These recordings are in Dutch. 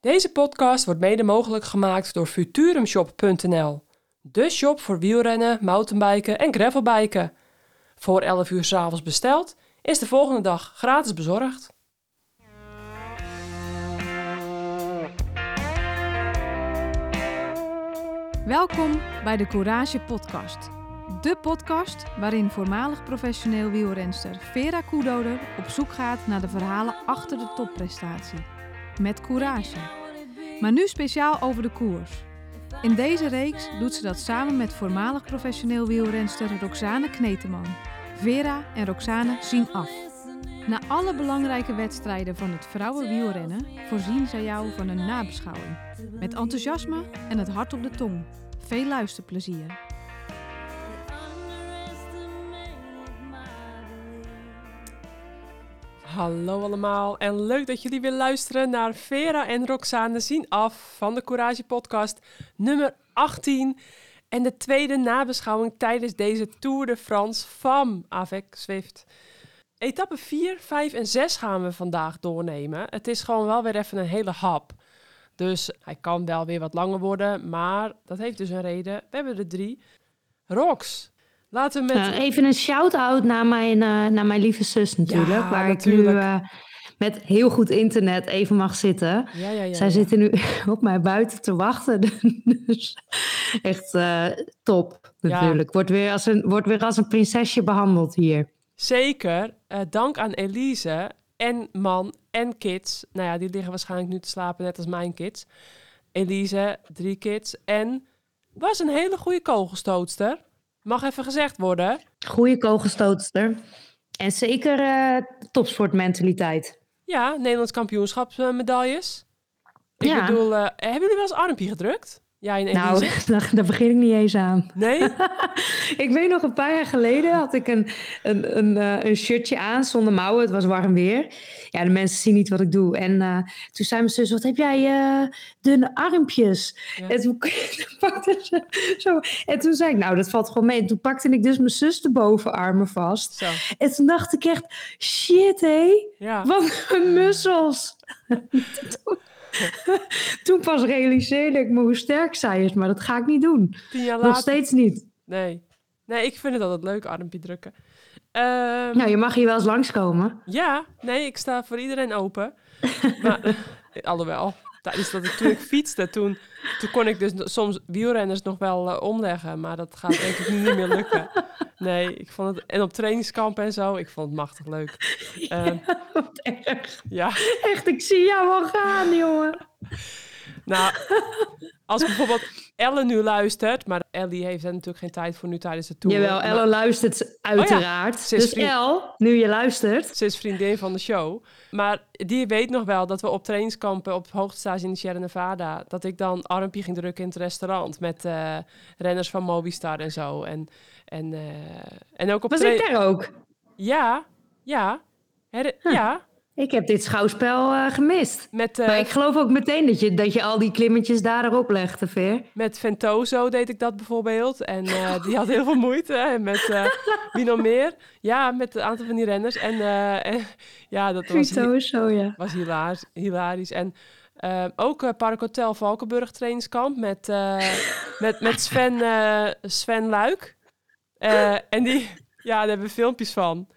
Deze podcast wordt mede mogelijk gemaakt door Futurumshop.nl. De shop voor wielrennen, mountainbiken en gravelbiken. Voor 11 uur 's avonds besteld is de volgende dag gratis bezorgd. Welkom bij de Courage Podcast. De podcast waarin voormalig professioneel wielrenster Vera Koedoder op zoek gaat naar de verhalen achter de topprestatie. Met courage. Maar nu speciaal over de koers. In deze reeks doet ze dat samen met voormalig professioneel wielrenster Roxane Kneteman. Vera en Roxane zien af. Na alle belangrijke wedstrijden van het vrouwenwielrennen voorzien zij jou van een nabeschouwing. Met enthousiasme en het hart op de tong. Veel luisterplezier. Hallo allemaal en leuk dat jullie weer luisteren naar Vera en Roxane zien af van de Courage Podcast nummer 18 en de tweede nabeschouwing tijdens deze Tour de France van Avec Zwift. Etappe 4, 5 en 6 gaan we vandaag doornemen. Het is gewoon wel weer even een hele hap. Dus hij kan wel weer wat langer worden, maar dat heeft dus een reden. We hebben er drie. Rox, laten we met... Nou, even een shout-out naar mijn, eh, naar mijn lieve zus natuurlijk. Ja, waar ik natuurlijk. nu eh, met heel goed internet even mag zitten. Ja, ja, ja, Zij ja. zitten nu op mij buiten te wachten. Dus echt eh, top natuurlijk. Wordt, weer als een, wordt weer als een prinsesje behandeld hier. Zeker. Eh, dank aan Elise en man en kids. Nou ja, die liggen waarschijnlijk nu te slapen, net als mijn kids. Elise, drie kids. En was een hele goede kogelstootster. Mag even gezegd worden. Goeie kogelstootster. En zeker eh, topsportmentaliteit. Ja, Nederlands kampioenschapsmedailles. Ik Ja. bedoel, eh, hebben jullie wel eens armpje gedrukt? Jij en Elise? Nou, daar, daar begin ik niet eens aan. Nee? Ik weet nog, een paar jaar geleden had ik een, een, een, eh, een shirtje aan zonder mouwen. Het was warm weer. Ja, de mensen zien niet wat ik doe. En eh, toen zei mijn zus, wat heb jij eh, dunne armpjes? Ja. En, toen, pakte ze zo, en toen zei ik, nou, dat valt gewoon mee. En toen pakte ik dus mijn zus de bovenarmen vast. Zo, En toen dacht ik echt, shit hé, ja. wat een mussels. toen, toen pas realiseerde ik me hoe sterk zij is, maar dat ga ik niet doen. Tien jaar Nog later. steeds niet. Nee. Nee, ik vind het altijd leuk, armpje drukken. Ehm, Nou, je mag hier wel eens langskomen. Ja, nee, ik sta voor iedereen open. Maar, eh, alhoewel, tijdens dat ik, toen ik fietste, toen, toen kon ik dus no- soms wielrenners nog wel eh, omleggen. Maar dat gaat denk ik nu niet meer lukken. Nee, ik vond het... En op trainingskampen en zo, ik vond het machtig leuk. Ehm, Wat erg. ja, Echt, ik zie jou al gaan, jongen. nou, als bijvoorbeeld Ellen nu luistert... Maar Ellie heeft er natuurlijk geen tijd voor nu tijdens de tour. Jawel, maar Elle luistert uiteraard. ze is dus vriend. El, nu je luistert. Ze is vriendin van de show. Maar die weet nog wel dat we op trainingskampen op hoogtestage in de Sierra Nevada... dat ik dan armpje ging drukken in het restaurant met eh, renners van Mobistar en zo. En, en, eh, en ook op Was train- ik daar ook? Ja, ja. Her- Ja, Ik heb dit schouwspel eh, gemist. met, eh, Maar ik geloof ook meteen dat je, dat je al die klimmetjes daar erop legde, Veer. met Ventoso deed ik dat bijvoorbeeld. En eh, die had heel veel moeite. En met eh, wie nog meer? Ja, met een aantal van die renners. En, eh, en- ja, dat was... Vito, zo ja. was hilarisch. hilarisch. En eh, ook eh Park Hotel Valkenburg trainingskamp met, eh, met, met Sven, eh, Sven Luik. Eh, en die, ja, daar hebben we filmpjes van.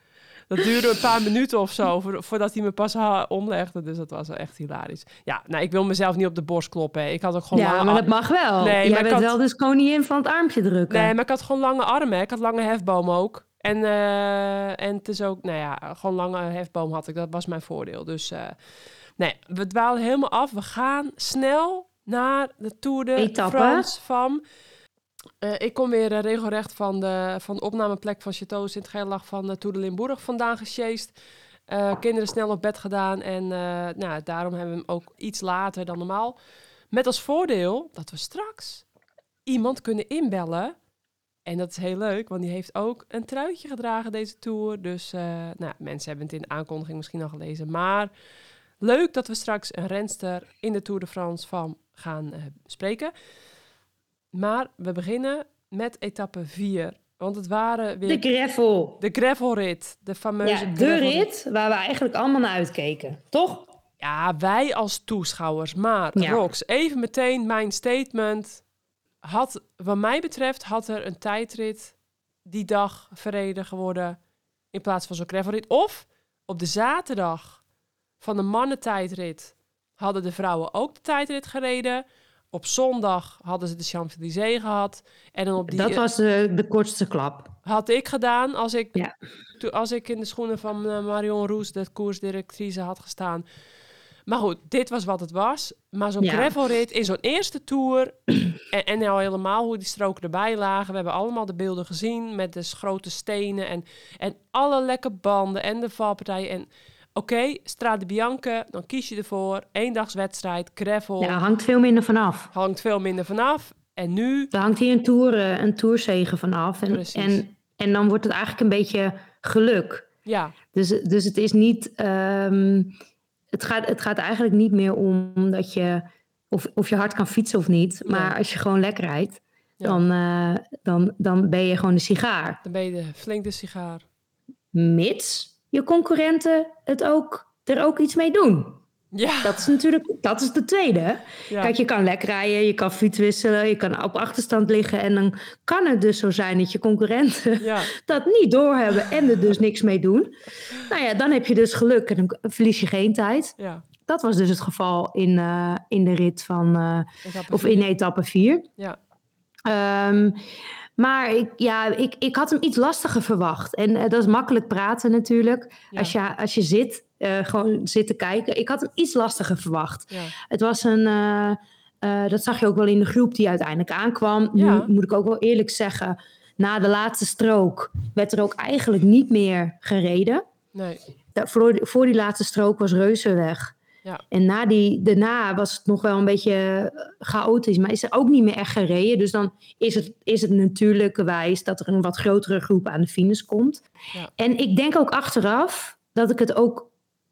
Dat duurde een paar minuten of zo, voor- voordat hij me pas ha- omlegde. Dus dat was wel echt hilarisch. Ja, nou, ik wil mezelf niet op de borst kloppen. hè. Ik had ook gewoon Ja, lange maar ar- dat mag wel. Nee, maar Jij ik bent had- wel dus koningin van het armpje drukken. Nee, maar ik had gewoon lange armen. hè. Ik had lange hefboom ook. En, eh, en het is ook, nou ja, gewoon lange hefboom had ik. Dat was mijn voordeel. Dus eh, nee, we dwalen helemaal af. We gaan snel naar de Tour de Etappe. France van. Eh, ik kom weer eh, regelrecht van de, van de opnameplek van Chateau Sint-Gerlach van de Tour de Limburg vandaan gesjeest. Eh, kinderen snel op bed gedaan en eh, nou, daarom hebben we hem ook iets later dan normaal. Met als voordeel dat we straks iemand kunnen inbellen. En dat is heel leuk, want die heeft ook een truitje gedragen deze tour. Dus eh, nou, mensen hebben het in de aankondiging misschien al gelezen. Maar leuk dat we straks een renster in de Tour de France van gaan eh, spreken. Maar we beginnen met etappe 4. Want het waren weer De gravel. de gravelrit. De fameuze Ja, de gravelrit. rit waar we eigenlijk allemaal naar uitkeken, toch? Ja, wij als toeschouwers. Maar Ja. Rox, even meteen mijn statement. Had, wat mij betreft had er een tijdrit die dag verreden geworden in plaats van zo'n gravelrit. Of op de zaterdag van de mannentijdrit hadden de vrouwen ook de tijdrit gereden. Op zondag hadden ze de Champs-Élysées gehad. En dan op die, eh, dat was eh, de, de kortste klap. had ik gedaan als ik, Ja. to- als ik in de schoenen van eh, Marion Roes, de koersdirectrice, had gestaan. Maar goed, dit was wat het was. Maar zo'n Ja. gravelrit in zo'n eerste tour. en, en nou helemaal hoe die stroken erbij lagen. We hebben allemaal de beelden gezien met de s- grote stenen en, en alle lekke banden en de valpartijen. En oké, Strade Bianca, dan kies je ervoor. Eendagswedstrijd, gravel, Ja, hangt veel minder vanaf. hangt veel minder vanaf. En nu, Er hangt hier een, toer, eh, een toerzegen vanaf. En, Precies. en, en dan wordt het eigenlijk een beetje geluk. ja, Dus, dus het is niet. ehm, het, gaat, het gaat eigenlijk niet meer om dat je. Of, of je hard kan fietsen of niet. Maar Nee. als je gewoon lekker rijdt, Ja. dan, eh, dan, dan ben je gewoon een sigaar. dan ben je de- flink de sigaar. Mits je concurrenten het ook, er ook iets mee doen. Ja, Dat is natuurlijk. Dat is de tweede. hè? ja. Kijk, je kan lekker rijden, je kan fiets wisselen, je kan op achterstand liggen. En dan kan het dus zo zijn dat je concurrenten ja. dat niet doorhebben en er dus niks mee doen. Nou ja, dan heb je dus geluk en dan verlies je geen tijd. Ja, Dat was dus het geval in, eh, in de rit van, eh, ik had of het- in etappe 4. Ja. maar ik, ja, ik, ik had hem iets lastiger verwacht. En eh, dat is makkelijk praten natuurlijk. Ja. Als, je, als je zit, eh, gewoon zit te kijken. Ik had hem iets lastiger verwacht. ja. Het was een. eh, eh, dat zag je ook wel in de groep die uiteindelijk aankwam. Ja. Nu moet ik ook wel eerlijk zeggen. Na de laatste strook werd er ook eigenlijk niet meer gereden. Nee, Da- voor, voor die laatste strook was Reuzenweg. Ja. En na die, daarna was het nog wel een beetje eh, chaotisch. Maar is er ook niet meer echt gereden. Dus dan is het, is het natuurlijkerwijs dat er een wat grotere groep aan de finish komt. Ja. En ik denk ook achteraf dat ik het ook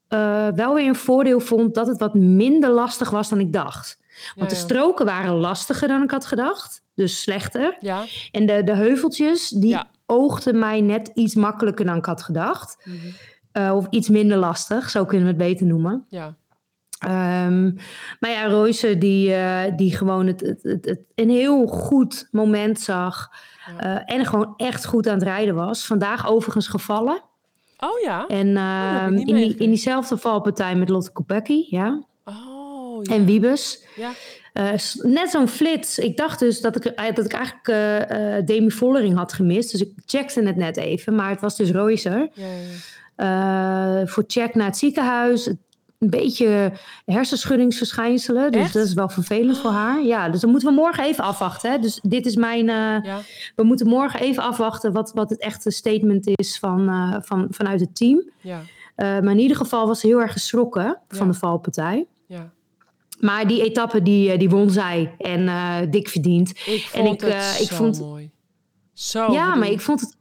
eh, wel weer een voordeel vond... dat het wat minder lastig was dan ik dacht. Want ja, de ja. stroken waren lastiger dan ik had gedacht. Dus slechter. Ja, En de, de heuveltjes, die Ja. oogden mij net iets makkelijker dan ik had gedacht. mhm, Eh, of iets minder lastig, zo kunnen we het beter noemen. ja, Ehm, maar ja, Royce die, eh, die gewoon het, het, het, het- een heel goed moment zag. Ja. eh, en gewoon echt goed aan het rijden was. Vandaag overigens gevallen. Oh ja. En dat heb ik ehm, niet in, die, meegekregen. in diezelfde valpartij met Lotte Kopecky, ja. Oh ja. En Wiebes. Ja. Eh, s- net zo'n flits. Ik dacht dus dat ik, eh, dat ik eigenlijk eh, eh, Demi Vollering had gemist. Dus ik checkte het net even. Maar het was dus Roycer. Ja, ja, ja. eh, voor check naar het ziekenhuis. Een beetje hersenschuddingsverschijnselen. Dus Echt? dat is wel vervelend voor haar. Ja, dus dan moeten we morgen even afwachten. Hè. Dus dit is mijn. eh, Ja, We moeten morgen even afwachten wat, wat het echte statement is van, eh, van, vanuit het team. ja, Eh, maar in ieder geval was ze heel erg geschrokken van Ja. de valpartij. ja. Maar die etappe die, eh, die won zij. En eh, dik verdiend. Ik vond ik, het eh, ik zo vond- mooi. Zo ja, maar bedoeld. ik vond het.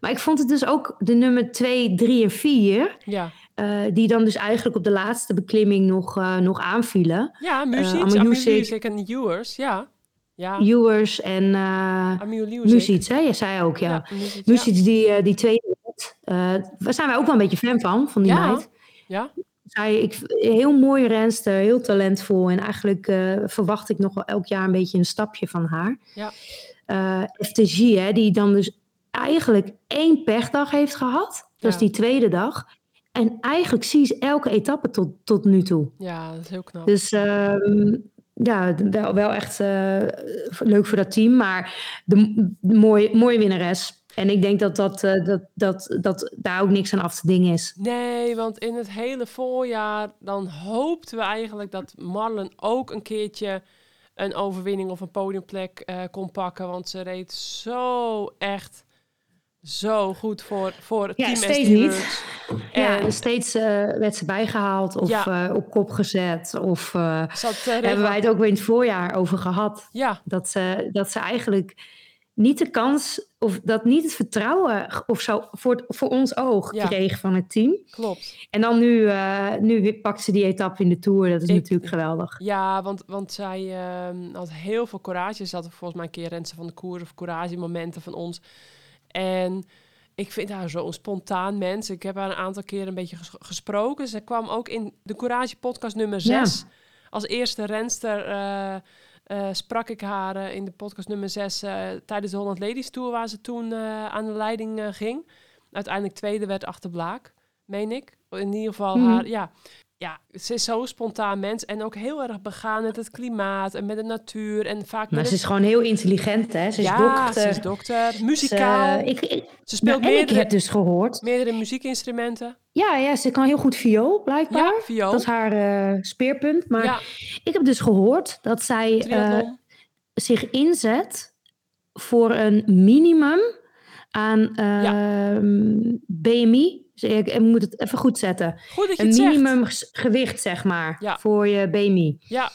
Maar ik vond het dus ook de nummer 2, 3 en 4. Ja, eh, die dan dus eigenlijk op de laatste beklimming nog, eh, nog aanvielen. ja muziek, Amu Amu Music. Music en Yours, ja. Ja, Ewers en eh Amu Music. Music, hè? Jij zei ook, ja. Ja, Music, ja. Music, die, eh, die tweede. werd, eh, daar zijn wij ook wel een beetje fan van, van die Ja. meid. Ja. Zij, ik, heel mooie renster, heel talentvol. En eigenlijk eh, verwacht ik nog wel elk jaar een beetje een stapje van haar. Ja. Eh, FTG, hè, die dan dus eigenlijk één pechdag heeft gehad. Dat is Ja. die tweede dag. En eigenlijk zie je elke etappe tot, tot nu toe. Ja, dat is heel knap. Dus ehm, ja, wel, wel echt eh, leuk voor dat team. Maar de, de mooie, mooie winnares. En ik denk dat, dat, eh, dat, dat, dat daar ook niks aan af te dingen is. Nee, want in het hele voorjaar dan hoopten we eigenlijk dat Marlen ook een keertje een overwinning of een podiumplek eh, kon pakken. Want ze reed zo echt zo goed voor, voor het Ja, team. steeds SD niet. Works. Ja, En en steeds eh, werd ze bijgehaald of Ja. eh, op kop gezet. Of eh, zat, eh, hebben wij Reva- het ook weer in het voorjaar over gehad. Ja, Dat ze, dat ze eigenlijk niet de kans of dat niet het vertrouwen of zo voor, het- voor ons oog Ja. kreeg van het team. klopt. En dan nu, eh, nu pakt ze die etappe in de Tour. Dat is Ik- natuurlijk geweldig. Ja, want, want zij ehm, had heel veel courage. Ze had volgens mij een keer Rensen van de Koer of courage momenten van ons. En Ik vind haar zo'n spontaan mens. Ik heb haar een aantal keren een beetje ges- gesproken. Ze kwam ook in de Courage podcast nummer 6. Als eerste renster eh, eh, sprak ik haar eh, in de podcast nummer 6 eh, tijdens de Holland Ladies Tour, waar ze toen eh, aan de leiding eh, ging. Uiteindelijk tweede werd achter Blaak, meen ik. In ieder geval Mhm. haar, ja. Ja, ze is zo'n spontaan mens en ook heel erg begaan met het klimaat en met de natuur en vaak Maar met ze het is gewoon heel intelligent, hè? Ze is ja, dokter. ze is dokter. Muzikaal. Ze, eh, ik, ik, ze speelt nou, en ik meerdere, heb dus gehoord. meerdere muziekinstrumenten. Ja, ja, ze kan heel goed viool, blijkbaar. Ja, viool. Dat is haar eh, speerpunt. Maar Ja, ik heb dus gehoord dat zij eh, triathlon. zich inzet voor een minimum aan ehm, BMI. Dus ik, ik moet het even goed zetten. Goed dat je Een het zegt. minimum ges- gewicht, zeg maar, Ja. voor je BMI. Ja.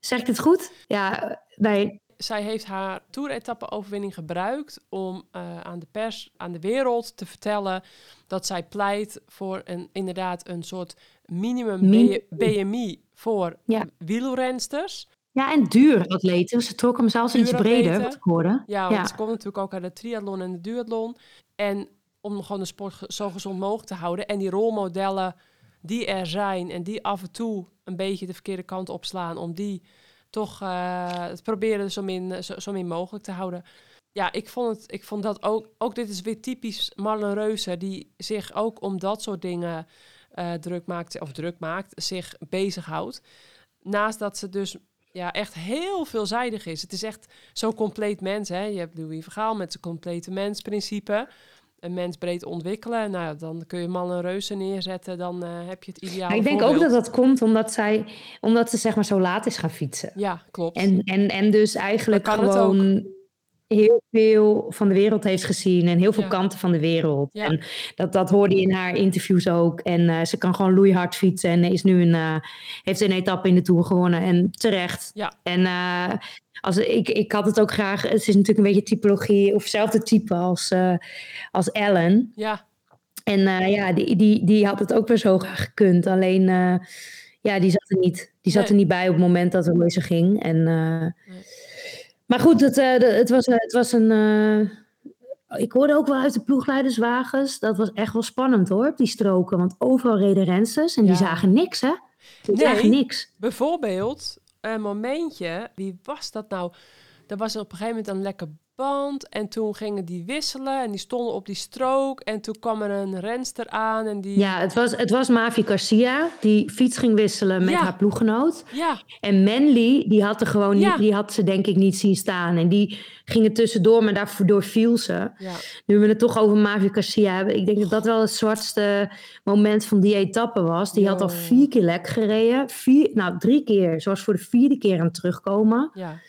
Zeg ik het goed? Ja, eh, nee. Zij heeft haar toeretappe-overwinning gebruikt om eh, aan de pers, aan de wereld te vertellen dat zij pleit voor een, inderdaad een soort minimum Min- B- BMI voor Ja. wielrensters. Ja, en duur atleten. Ze trok hem zelfs iets Duur breder, atleten. wat ik hoorde. Ja, want Ja. ze komt natuurlijk ook uit de triathlon en de duathlon. En om gewoon de sport ge- zo gezond mogelijk te houden. En die rolmodellen die er zijn en die af en toe een beetje de verkeerde kant opslaan, om die toch eh, te proberen zo min, zo, zo min mogelijk te houden. Ja, ik vond, het, ik vond dat ook. Ook dit is weer typisch Marlen Reuser, die zich ook om dat soort dingen eh, druk maakt, of druk maakt, zich bezighoudt. Naast dat ze dus ja, echt heel veelzijdig is. Het is echt zo'n compleet mens. Hè? Je hebt Louis Vergaal met zijn complete mensprincipe. Een mens breed ontwikkelen. Nou, ja, dan kun je mannen en reuzen neerzetten. Dan eh, heb je het ideaal. Maar ik denk ook dat dat komt omdat, zij, omdat ze zeg maar zo laat is gaan fietsen. Ja, klopt. En, en, en dus eigenlijk Dan kan het gewoon heel veel van de wereld heeft gezien en heel veel Ja. kanten van de wereld. Ja. En dat, dat hoorde je in haar interviews ook. En eh, ze kan gewoon loeihard fietsen en is nu een, eh, heeft een etappe in de Tour gewonnen en terecht. Ja. En eh, als, ik, ik had het ook graag, het is natuurlijk een beetje typologie of hetzelfde type als, eh, als Ellen. Ja, En eh, ja, die, die, die had het ook weer zo graag gekund. Alleen, eh, ja, die zat er niet. Die zat Nee. er niet bij op het moment dat Royce ging. En, eh, Nee. Maar goed, het, eh, de- het, was, eh, het was een... eh, ik hoorde ook wel uit de ploegleiderswagens. Dat was echt wel spannend hoor, op die stroken. Want overal reden rensters en die Ja. zagen niks hè. Die Nee. zagen niks. bijvoorbeeld een momentje. Wie was dat nou? Er was op een gegeven moment een lekker band. En toen gingen die wisselen. En die stonden op die strook. En toen kwam er een renster aan. En die... Ja, het was, het was Mavi Garcia die fiets ging wisselen met Ja. haar ploeggenoot. ja, En Manly, die had, er gewoon Ja. niet, die had ze denk ik niet zien staan. En die ging er tussendoor, maar daardoor viel ze. ja. Nu we het toch over Mavi Garcia hebben. Ik denk dat dat wel het zwartste moment van die etappe was. Die had al Ja. vier keer lek gereden. Vier, nou, drie keer. Ze was voor de vierde keer aan het terugkomen. ja.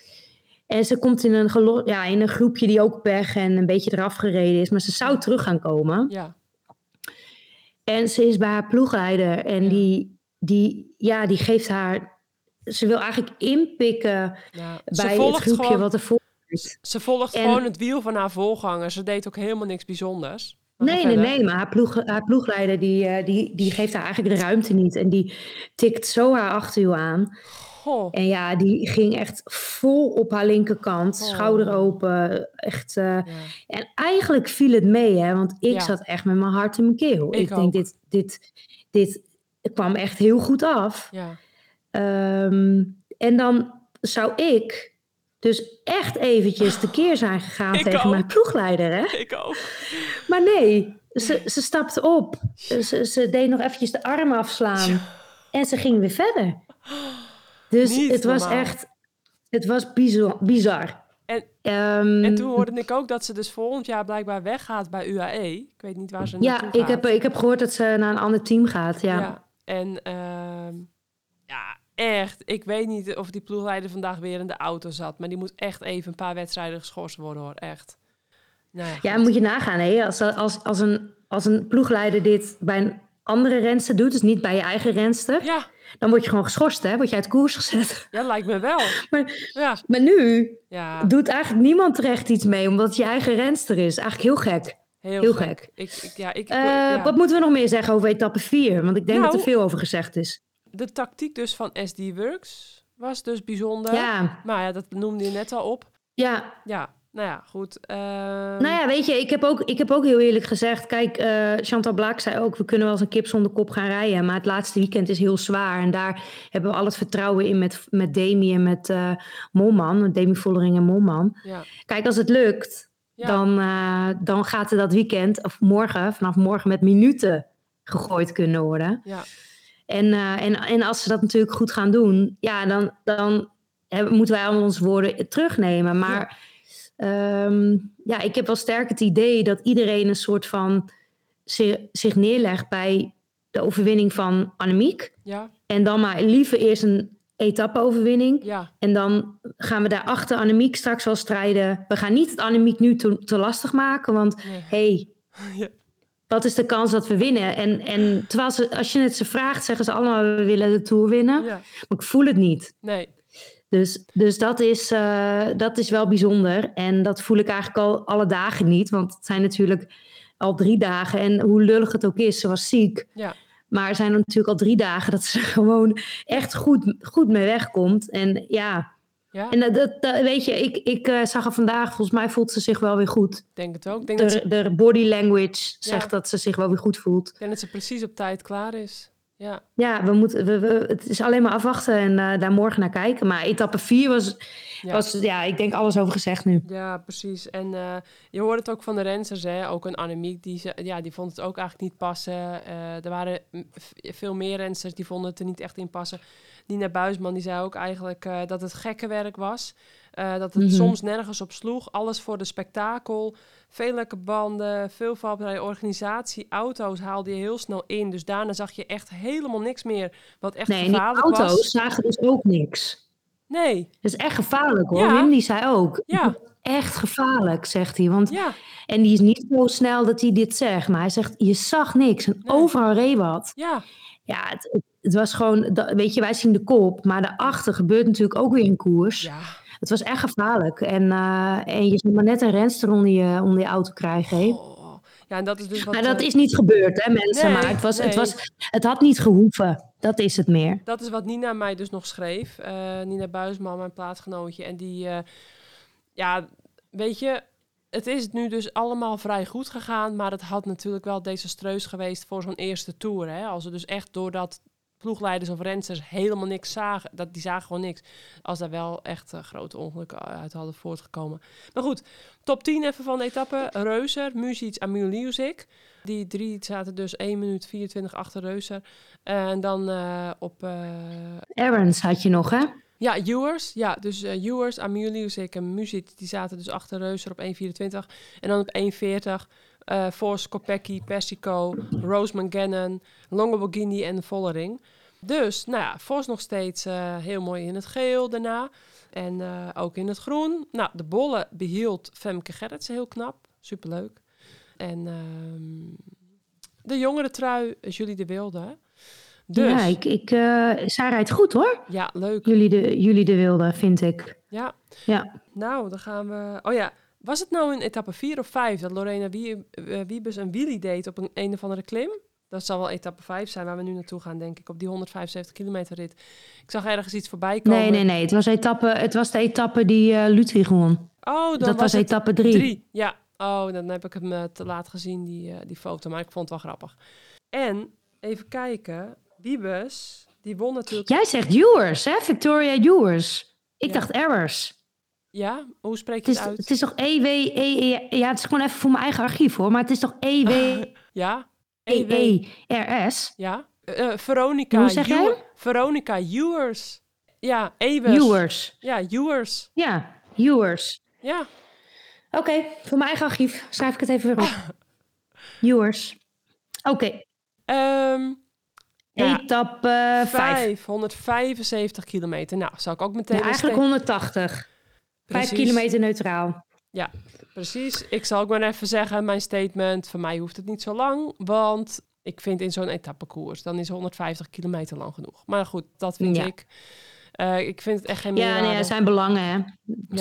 En ze komt in een, gelo- ja, in een groepje die ook pech en een beetje eraf gereden is. Maar ze zou terug gaan komen. ja. En ze is bij haar ploegleider en Ja. die, die, ja, die geeft haar... Ze wil eigenlijk inpikken ja. Nou, Ze bij het volgt groepje gewoon wat ervoor Ze- Ze volgt En- gewoon het wiel van haar voorganger. Ze deed ook helemaal niks bijzonders. Maar Nee, ga nee, verder. nee, maar haar, ploeg, haar ploegleider die, eh, die, die geeft haar eigenlijk de ruimte niet. En die tikt zo haar achterwiel aan. Goh, En ja, die ging echt vol op haar linkerkant, Oh. schouder open. Echt, eh, ja. en eigenlijk viel het mee, hè, want ik Ja. zat echt met mijn hart in mijn keel. Ik Ik, ook. denk, dit, dit, dit kwam echt heel goed af. ja. Ehm, en dan zou ik dus echt eventjes tekeer zijn gegaan Ik tegen mijn ook. ploegleider, hè? Ik ook. Maar nee, ze, ze stapte op. Ze, ze deed nog eventjes de arm afslaan. Ja. En ze ging weer verder. Dus Niet het was normaal. echt... Het was bizar. bizar. En- Ehm, En toen hoorde ik ook dat ze dus volgend jaar blijkbaar weggaat bij UAE. Ik weet niet waar ze Ja, naartoe ik gaat. heb, ik heb gehoord dat ze naar een ander team gaat. Ja. En ehm, ja, echt. Ik weet niet of die ploegleider vandaag weer in de auto zat. Maar die moet echt even een paar wedstrijden geschorst worden hoor. Echt. Nou ja, Ja, goed. moet je nagaan. Hè? Als, als, als, een, als een ploegleider dit bij een andere renster doet... dus niet bij je eigen renster... ja, dan word je gewoon geschorst, hè? Word je uit koers gezet. ja, lijkt me wel. Maar- ja, Maar nu ja. doet eigenlijk niemand terecht iets mee... omdat het je eigen renster is. Eigenlijk heel gek. Heel, heel gek. Ik, ik- ja, ik, Eh, ja. Wat moeten we nog meer zeggen over etappe 4? Want ik denk dat Nou. er veel over gezegd is. De tactiek dus van SD Works was dus bijzonder. Ja, Maar ja, dat noemde je net al op. ja. Ja, Nou ja, goed. ehm, Nou ja, weet je, ik heb ook, ik heb ook heel eerlijk gezegd. Kijk, eh, Chantal Blaak zei ook: we kunnen wel eens een kip zonder kop gaan rijden. Maar het laatste weekend is heel zwaar. En daar hebben we al het vertrouwen in met, met Demi en met eh Momman. Met Demi Vollering en Momman. ja. Kijk, als het lukt, Ja. dan, eh, dan gaat er dat weekend, of morgen, vanaf morgen, met minuten gegooid kunnen worden. Ja. En, eh, en, en als ze dat natuurlijk goed gaan doen, ja, dan, dan hebben- moeten wij allemaal onze woorden terugnemen. Maar ehm, ja, ik heb wel sterk het idee dat iedereen een soort van zi- zich neerlegt bij de overwinning van Annemiek. Ja, En dan maar liever eerst een etappe-overwinning. ja, En dan gaan we daar achter Annemiek straks wel strijden. We gaan niet het Annemiek nu te, te lastig maken, want nee. hey, Ja. wat is de kans dat we winnen? En, en terwijl ze, als je het ze vraagt, zeggen ze allemaal we willen de Tour winnen. ja. Maar ik voel het niet. Nee, Dus, dus dat, is, eh, dat is wel bijzonder. En dat voel ik eigenlijk al alle dagen niet. Want het zijn natuurlijk al drie dagen. En hoe lullig het ook is, ze was ziek. Ja. Maar er zijn er natuurlijk al drie dagen dat ze er gewoon echt goed, goed mee wegkomt. En ja, ja, en dat, dat, dat- weet je, ik, ik eh, zag haar vandaag, volgens mij voelt ze zich wel weer goed. ik denk het ook. Ik denk, dat ze, De, de body language Ja. zegt dat ze zich wel weer goed voelt. ik denk dat ze precies op tijd klaar is. Ja, Ja, we moeten, we, we- het is alleen maar afwachten en eh, daar morgen naar kijken. Maar etappe 4 was, Ja. was, ja, ik denk alles over gezegd nu. ja precies. En eh, je hoort het ook van de rensers, hè. Ook een Annemiek, die, ze, ja, die vond het ook eigenlijk niet passen. Eh, er waren mm, v- veel meer rensers die vonden het er niet echt in passen. Nina Buisman, die zei ook eigenlijk eh, dat het gekke werk was. Eh, dat het Mhm. soms nergens op sloeg. Alles voor de spektakel. Veel lekke banden, veel valpartijen, organisatie. Auto's haalde je heel snel in. Dus daarna zag je echt helemaal niks meer wat echt Nee, en die gevaarlijk was. auto's zagen dus ook niks. Nee, Dat is echt gevaarlijk hoor. Ja. Wim die zei ook. ja, Echt gevaarlijk, zegt hij. Want, ja, En die is niet zo snel dat hij dit zegt. Maar hij zegt, je zag niks. En Nee. overal reed wat. ja, Ja, het, het- het was gewoon, dat- weet je, wij zien de kop. Maar daarachter gebeurt natuurlijk ook weer een koers. ja. Het was echt gevaarlijk. En, eh, en je zou maar net een renster onder je, onder je auto krijgen. hè. Oh. Ja, en dat is dus wat. Maar dat eh, is niet gebeurd, hè mensen. Nee, maar het, was, het, nee. was, het had niet gehoeven. Dat is het meer. dat is wat Nina mij dus nog schreef. Eh, Nina Buisman, mijn plaatsgenootje. En die, eh, ja, weet je, het is nu dus allemaal vrij goed gegaan. Maar het had natuurlijk wel desastreus geweest voor zo'n eerste tour. Hè? Als we dus echt doordat ploegleiders of rensters helemaal niks zagen. Dat, die zagen gewoon niks. Als daar wel echt eh, grote ongelukken uit hadden voortgekomen. Maar goed, top 10 even van de etappe. Reuser, Muzic, Amul Music. Die drie zaten dus 1 minuut 24 achter Reuser. En dan eh, op... eh, Errands had je nog, hè? ja, Ewers. Ja, dus eh Ewers, Amir Music en Muzic, die zaten dus achter Reuser op 1,24. En dan op 1,40 eh Force, Kopecky, Persico, Rose McGannon, Longoborghini en Vollering. Dus, nou ja, Force nog steeds eh, heel mooi in het geel daarna. En eh, ook in het groen. Nou, de bollen behield Femke Gerritsen heel knap. Superleuk. En ehm, de jongere trui, Julie de Wilde. Dus, Ja, ja, ik, ik, eh, zij rijdt goed hoor. leuk. Jullie de, jullie de wilde, vind ik. Ja. Ja. Nou, dan gaan we. Oh ja, was het nou in etappe 4 of 5 dat Lorena Wie- eh, Wiebes een wheelie deed op een, een of andere klim? Dat zal wel etappe 5 zijn waar we nu naartoe gaan, denk ik, op die 175 kilometer rit. Ik zag ergens iets voorbij komen. Nee, nee, nee. Het was, etappe, het was de etappe die eh Ludwig won. Oh, dan Dat was, het etappe drie. Ja. Oh, dan heb ik hem eh, te laat gezien, die, eh, die foto. Maar ik vond het wel grappig. En even kijken. Wiebes, die won natuurlijk. Jij zegt Ewers, hè? Victoria Ewers. Ik Ja. dacht Errors. Ja, hoe spreek Het je is, het, uit? het is toch E EW... EE ja, het is gewoon even voor mijn eigen archief hoor. Maar het is toch E EW... Ja. E E EW. EERS? Ja. Eh, eh, Veronica. Hoe zeg jij Ewer- Veronica Ewers. Ja, Ewers. Ewers. Ja, Ewers. Ja, Ewers. Ja, Oké, voor mijn eigen archief schrijf ik het even weer op. Viewers. Oké, ehm, ja, etappe eh, vijf. 5, 175 kilometer. Nou, zou ik ook meteen... Ja, een eigenlijk steek- 180. Vijf Precies, kilometer neutraal. Precies. Ik zal ook maar even zeggen, mijn statement, voor mij hoeft het niet zo lang, want ik vind in zo'n etappekoers, dan is 150 kilometer lang genoeg. Maar goed, dat vind Ja. ik. Eh, ik vind het echt geen Ja, nee, meerwaarde. er zijn belangen. Hè? Ja.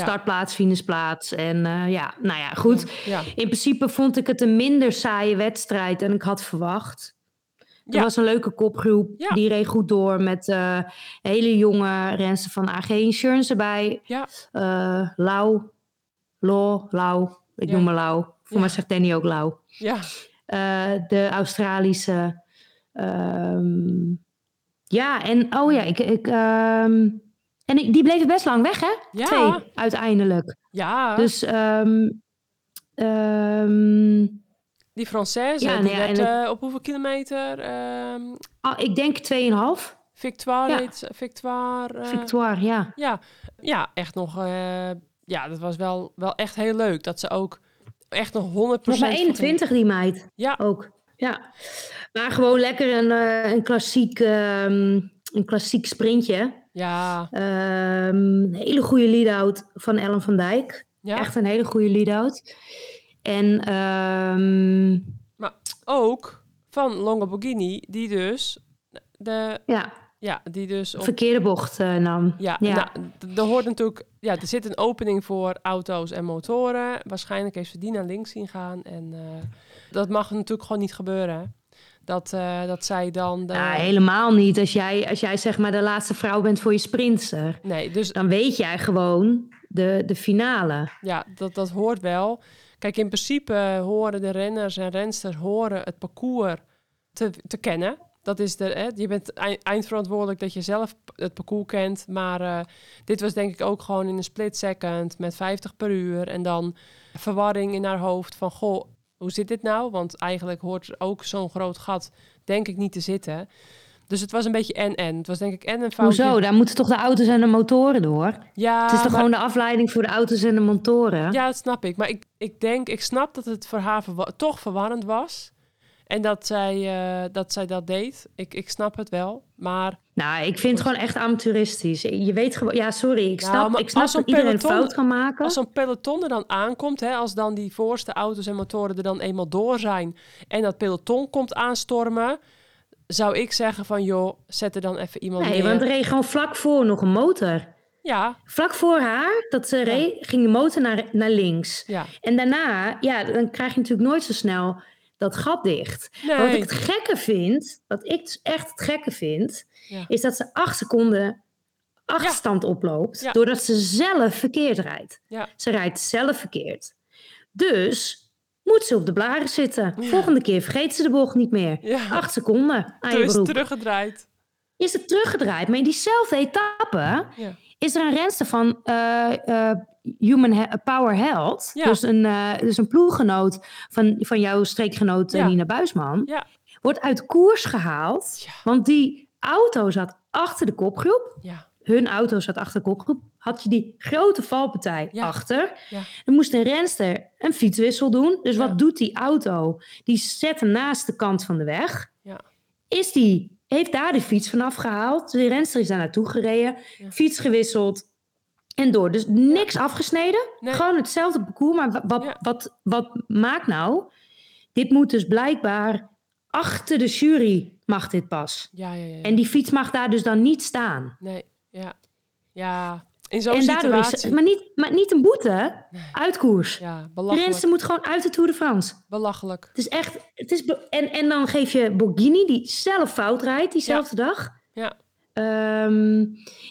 Startplaats, finishplaats. En eh, ja, nou ja, goed. Ja. In principe vond ik het een minder saaie wedstrijd dan ik had verwacht. Er Ja. was een leuke kopgroep. Ja. Die reed goed door met eh, hele jonge renster van AG Insurance erbij. Ja. Eh, Lau, Lo, Lau. Ik Ja. noem me Lau. Voor Ja. mij zegt Danny ook Lau. Ja, Eh, de Australische. ehm, ja, en oh ja, ik. ik ehm, en ik, die bleven best lang weg, hè? ja, Twee, uiteindelijk. ja. Dus. ehm, ehm, die Française, Ja, die nou ja, werd en eh, op hoeveel kilometer? ehm ah, ik denk 2,5. Victoire, Ja. heet ze- Victoire. eh, Victoire, ja. Ja, ja, echt nog. eh, ja, dat was wel, wel echt heel leuk. Dat ze ook echt nog 100 Nog maar 21, die meid. Ja. Ook. Ja. Maar gewoon lekker een, eh, een, klassiek, ehm, een klassiek sprintje. Ja, Ehm, een hele goede lead-out van Ellen van Dijk. ja. Echt een hele goede lead-out. En ehm, ook van Longa Borghini, die dus de ja, ja, die dus op, verkeerde bocht eh, nam. ja, ja. nou, d- er hoort natuurlijk ja, er zit een opening voor auto's en motoren. Waarschijnlijk heeft ze die naar links zien gaan en eh, dat mag natuurlijk gewoon niet gebeuren. hè. Dat, eh, dat zij dan de, Ja, helemaal niet. Als jij, als jij zeg maar de laatste vrouw bent voor je sprinter, nee, dus dan weet jij gewoon de, de finale. Ja, dat, dat hoort wel. Kijk, in principe eh, horen de renners en rensters horen het parcours te, te kennen. Dat is de, hè, je bent ei- eindverantwoordelijk dat je zelf p- het parcours kent. Maar eh, dit was denk ik ook gewoon in een split second met 50 per uur. En dan verwarring in haar hoofd van, goh, hoe zit dit nou? Want eigenlijk hoort er ook zo'n groot gat denk ik niet te zitten. Dus het was een beetje en-en. Het was denk ik en een foutje. Hoezo? Daar moeten toch de auto's en de motoren door? Ja, het is toch Ah, maar- gewoon de afleiding voor de auto's en de motoren? Ja, dat snap ik. Maar ik, ik denk, ik snap dat het voor haar verwa- toch verwarrend was. En dat zij, eh, dat, zij dat deed. Ik, ik snap het wel. Maar Nou, ik vind het gewoon echt amateuristisch. Je weet gewoon... Ja, sorry. Ik Nou, snap, maar ik snap als zo'n dat iedereen een peloton- fout kan maken. als zo'n peloton er dan aankomt, hè, als dan die voorste auto's en motoren er dan eenmaal door zijn. en dat peloton komt aanstormen. zou ik zeggen: van joh, zet er dan even iemand Nee, neer. want er reed gewoon vlak voor nog een motor. Ja, Vlak voor haar, dat ze reed, ging de motor naar, naar links. ja. En daarna, ja, dan krijg je natuurlijk nooit zo snel dat gat dicht. Wat Nee. ik het gekke vind, wat ik dus echt het gekke vind, Ja. is dat ze acht seconden achterstand oploopt. Ja. Doordat ze zelf verkeerd rijdt. Ja. Ze rijdt zelf verkeerd. Dus moet ze op de blaren zitten. Ja. Volgende keer vergeet ze de bocht niet meer. ja. Acht seconden aan je Dus broek teruggedraaid. is het teruggedraaid. Maar in diezelfde etappe Ja. is er een renster van eh, eh, Human He- Power Health. Ja. Dus, een, eh, dus een ploeggenoot van, van jouw streekgenoot eh, Ja. Nina Buisman. Ja. Wordt uit koers gehaald. Ja. Want die auto zat achter de kopgroep. Ja. Hun auto zat achter de kopgroep. Had je die grote valpartij Ja. achter. Ja. Dan moest een renster een fietswissel doen. Dus Ja. wat doet die auto? Die zet hem naast de kant van de weg Ja. is die, heeft daar de fiets vanaf gehaald. De renster is daar naartoe gereden, Ja. fiets gewisseld en door. Dus niks afgesneden, Nee. gewoon hetzelfde parcours. Maar wa- wat, Ja. wat, wat maakt nou? Dit moet dus blijkbaar achter de jury mag dit pas. Ja, ja, ja. ja. En die fiets mag daar dus dan niet staan. Nee, ja. Ja. In zo'n en daardoor is situatie. maar niet, maar niet een boete, Nee. uitkoers. Ja, de belachelijk. renster moet gewoon uit de Tour de France. Belachelijk. Het is echt, het is be- en, en dan geef je Borghini, die zelf fout rijdt diezelfde dag. Ja. Ehm,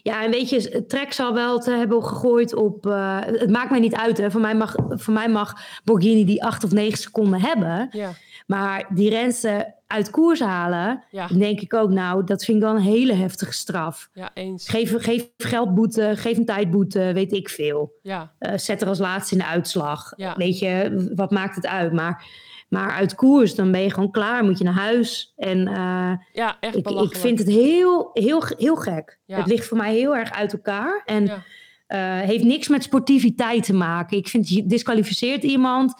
ja, en weet je, Trek zal wel te hebben gegooid op. eh, het maakt mij niet uit, hè. Voor mij, mag, voor mij mag Borghini die acht of negen seconden hebben. Ja, Maar die rensen uit koers halen, ja, dan denk ik ook, nou, dat vind ik wel een hele heftige straf. ja, eens. Geef, geef geldboete, geef een tijdboete, weet ik veel. Ja, Eh, zet er als laatste in de uitslag. Ja. Weet je, wat maakt het uit? Maar, maar uit koers, dan ben je gewoon klaar, moet je naar huis. En eh, ja echt ik, ik belachelijk. vind het heel, heel, ge- heel gek. Ja. Het ligt voor mij heel erg uit elkaar. En Ja. eh, heeft niks met sportiviteit te maken. Ik vind, je disqualificeert iemand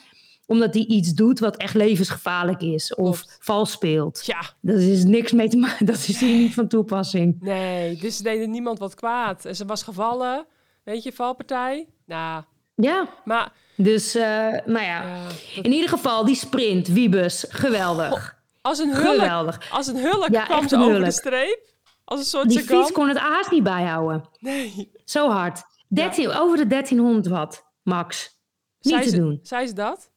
omdat hij iets doet wat echt levensgevaarlijk is. Of Klopt. vals speelt. Ja, Dat is niks mee te maken. Dat is hier niet van toepassing. nee, dus ze deden niemand wat kwaad. En ze was gevallen, weet je, valpartij. Nou, Ja, maar dus, eh, nou ja. ja, dat- In ieder geval, die sprint, Wiebes, geweldig. als een hulk, geweldig. als een hulk Ja, kwam echt ze een over de hulk. streep. Als een soort Die fiets Sagan. kon het haast niet bijhouden. Nee, Zo hard. 13, Over de 1300 watt, max. Niet zei te ze, doen. Zei ze dat?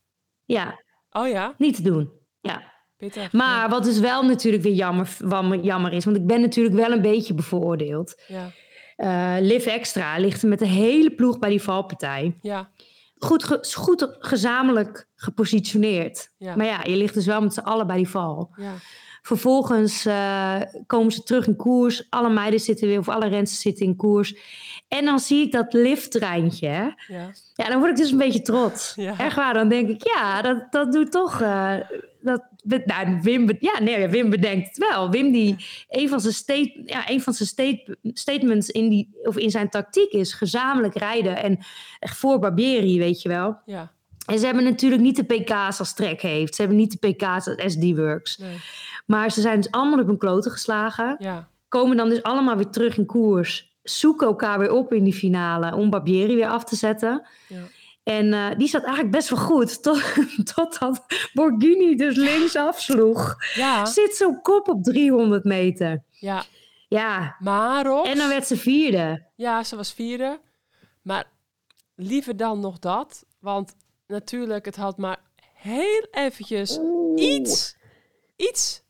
Ja, Oh ja, niet te doen. Ja. pittig. Maar wat dus wel natuurlijk weer jammer, wam- jammer is, want ik ben natuurlijk wel een beetje bevoordeeld. Ja, Eh Liv Extra ligt met de hele ploeg bij die valpartij. ja, goed, ge- goed gezamenlijk gepositioneerd. Ja. Maar ja, je ligt dus wel met z'n allen bij die val. Ja. Vervolgens eh, komen ze terug in koers. Alle meiden zitten weer, of alle rensters zitten in koers. En dan zie ik dat lifttreintje. hè. Ja. Ja, dan word ik dus een beetje trots. Ja. Echt waar, dan denk ik, ja, dat, dat doet toch... eh, dat, be- nou, Wim, be- ja, nee, Wim bedenkt het wel. Wim die een van zijn, state, ja, een van zijn state- statements in, die, of in zijn tactiek is... gezamenlijk rijden en echt voor Barbieri, weet je wel. Ja. En ze hebben natuurlijk niet de PK's als Trek heeft. Ze hebben niet de PK's als SD-Works. Nee. Maar ze zijn dus allemaal op hun kloten geslagen. Ja. Komen dan dus allemaal weer terug in koers. Zoeken elkaar weer op in die finale om Barbieri weer af te zetten. Ja. En eh, die zat eigenlijk best wel goed. Tot, totdat Borghini dus links afsloeg. Ja. Zit zo'n kop op 300 meter. Ja. Ja, Maar Rox, en dan werd ze vierde. ja, ze was vierde. Maar liever dan nog dat. Want natuurlijk, het had maar heel eventjes iets, iets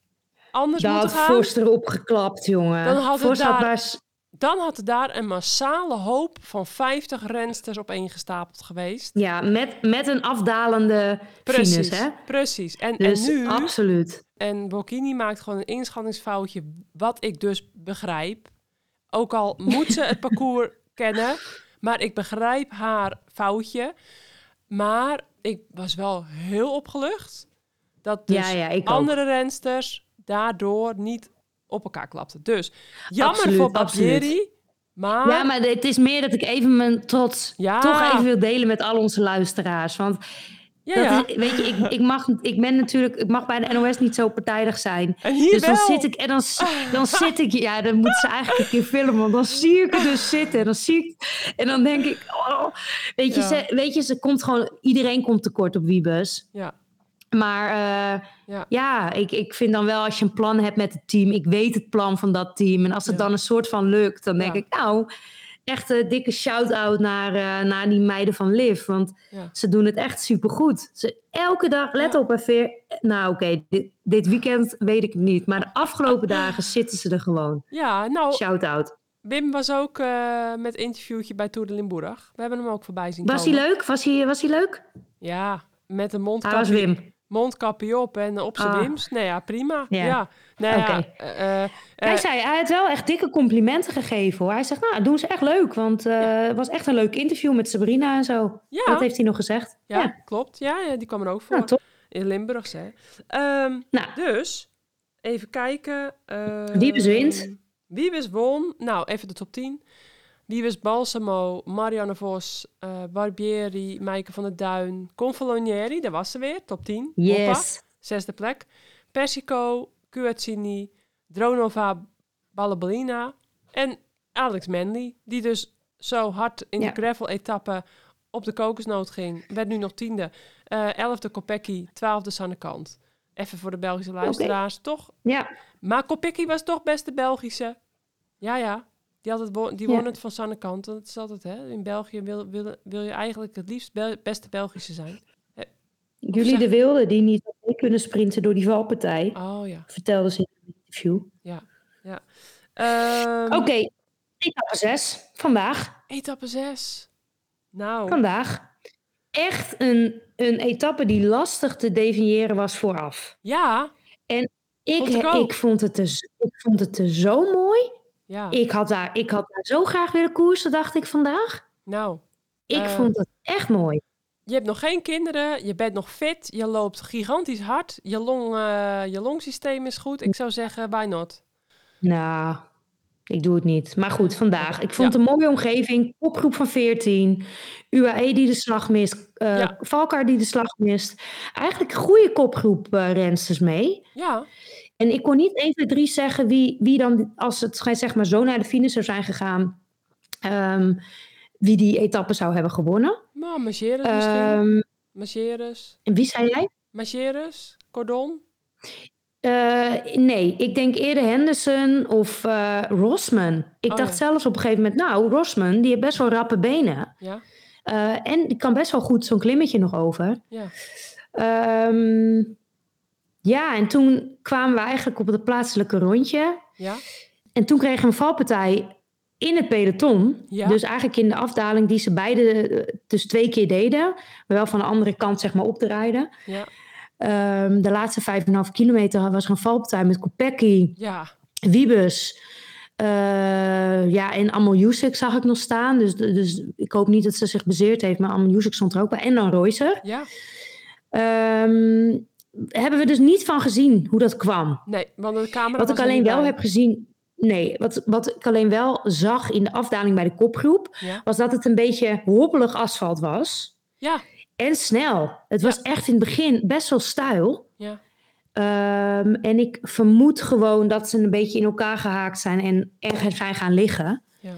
anders Daar moeten had gaan. Vos erop geklapt, jongen. Dan had het Vos daar- maar s- Dan had er daar een massale hoop van 50 rensters opeengestapeld geweest. ja, met, met een afdalende Precies, finish, hè? precies. En, Dus en nu, absoluut. en Bocchini maakt gewoon een inschattingsfoutje, wat ik dus begrijp. Ook al moet ze het parcours kennen, maar ik begrijp haar foutje. Maar ik was wel heel opgelucht dat dus ja, ja, ik ook. andere rensters daardoor niet op elkaar klapten. Dus jammer Absoluut, voor absoluut. Barbieri, maar... Ja, maar het is meer dat ik even mijn trots Ah. Ja. toch even wil delen met al onze luisteraars. Want Ja, dat ja. is- weet je, ik, ik, mag, ik ben natuurlijk, ik mag bij de NOS niet zo partijdig zijn. En hier Dus dan wel. zit ik, en dan, s- dan zit ik, ja, dan moet ze eigenlijk een keer filmen, want dan zie ik er dus zitten. En dan zie ik, en dan denk ik, oh, weet je, Ja. ze, weet je, ze komt gewoon, iedereen komt tekort op Wiebes. Ja, Maar eh, ja, ja, ik, ik vind dan wel als je een plan hebt met het team. Ik weet het plan van dat team. En als het Ja. dan een soort van lukt, dan denk Ja. ik nou... Echt een dikke shout-out naar, eh, naar die meiden van Liv. Want ja. ze doen het echt supergoed. Ze, elke dag, let Ja. op en veer. Nou oké, dit, dit weekend weet ik het niet. Maar de afgelopen dagen zitten ze er gewoon. Ja, nou, Shout-out. Wim was ook eh, met interviewtje bij Tour de Limburg. We hebben hem ook voorbij zien Was hij komen. leuk? Was hij, was hij leuk? Ja, met een Hij was mondkapje, Ah, Wim. mondkapje op en op zijn Ah. wims. Nee, ja, prima. Ja. Ja. Nou, Oké. ja, eh, eh, Hij eh, zei, hij had wel echt dikke complimenten gegeven hoor. Hij zegt, nou, doen ze echt leuk. Want eh, het was echt een leuk interview met Sabrina en zo. ja, Dat heeft hij nog gezegd. ja, klopt. Ja, ja, die kwam er ook voor. Nou, top. In Limburg, hè. Ehm, Nou. Dus, even kijken. eh, Wiebes wint. Wiebes won. Nou, even de top 10. Wiebes Balsamo, Marianne Vos, eh, Barbieri, Maaike van der Duin, Confolonieri, daar was ze weer, top 10. Hoppa. Yes. Zesde plek. Persico, Cuazzini, Dronova, Balabalina en Alex Manley. Die dus zo hard in Ja. de gravel-etappe op de kokosnoot ging. Werd nu nog tiende. Eh elfde Kopecky, twaalfde Sannekant. Even voor de Belgische luisteraars, toch? Ja, Maar Kopecky was toch best de Belgische. Ja, ja. Die, had het wo- die Ja. won het van Sannekant. Dat is altijd, hè? In België wil, wil, wil je eigenlijk het liefst bel- beste Belgische zijn. jullie de wilde die niet mee kunnen sprinten door die valpartij. Oh ja, Vertelde ze in een interview. ja. Ehm, Oké, etappe 6. Vandaag. Etappe 6. Nou, Vandaag. Echt een, een etappe die lastig te definiëren was vooraf. ja. Ik, Vond ik ook. ik, vond het er, z- ik vond het er zo mooi. Ja, Ik, had daar, ik had daar zo graag willen koersen, dacht ik vandaag. nou. Ik Eh. vond het echt mooi. Je hebt nog geen kinderen, je bent nog fit, je loopt gigantisch hard, je, long, eh, je longsysteem is goed. Ik zou zeggen, why not? Nou, ik doe het niet. Maar goed, vandaag. Ik vond Ja. een mooie omgeving. Kopgroep van 14. UAE E die de slag mist. eh Ja. Valkar die de slag mist. Eigenlijk een goede kopgroep eh rensters mee. Ja, En ik kon niet 1, 2, 3 zeggen wie, wie dan, als het zeg maar, zo naar de finish zou zijn gegaan, ehm, wie die etappe zou hebben gewonnen. maar marcheres misschien. Ehm, Marcheres, en wie zei jij? marcheres, cordon. Eh, nee, ik denk eerder Henderson of eh, Rosman. Ik Oh, dacht ja. zelfs op een gegeven moment, nou, Rosman, die heeft best wel rappe benen. Ja, Eh, en die kan best wel goed zo'n klimmetje nog over. ja, Ehm, ja, en toen kwamen we eigenlijk op het plaatselijke rondje. ja, En toen kregen we een valpartij in het peloton. Ja. Dus eigenlijk in de afdaling die ze beide eh, dus twee keer deden. Maar wel van de andere kant zeg maar opdraaiden. Ja. Ehm, de laatste vijf en een half kilometer was er een valpartij met Kopecky, Ja. Wiebes. eh, ja, en Amal Jusek zag ik nog staan. Dus, dus ik hoop niet dat ze zich bezeerd heeft. Maar Amal Jusek stond er ook bij. En dan Royser. Ja. Ehm, hebben we dus niet van gezien hoe dat kwam. Nee, want de camera Wat was ik er alleen niet wel bij. heb gezien. Nee, wat, wat ik alleen wel zag in de afdaling bij de kopgroep. Ja. was dat het een beetje hobbelig asfalt was. Ja. En snel. Het was echt in het begin best wel stijl. Ja. Ehm, en ik vermoed gewoon dat ze een beetje in elkaar gehaakt zijn en, en zijn gaan liggen. Ja.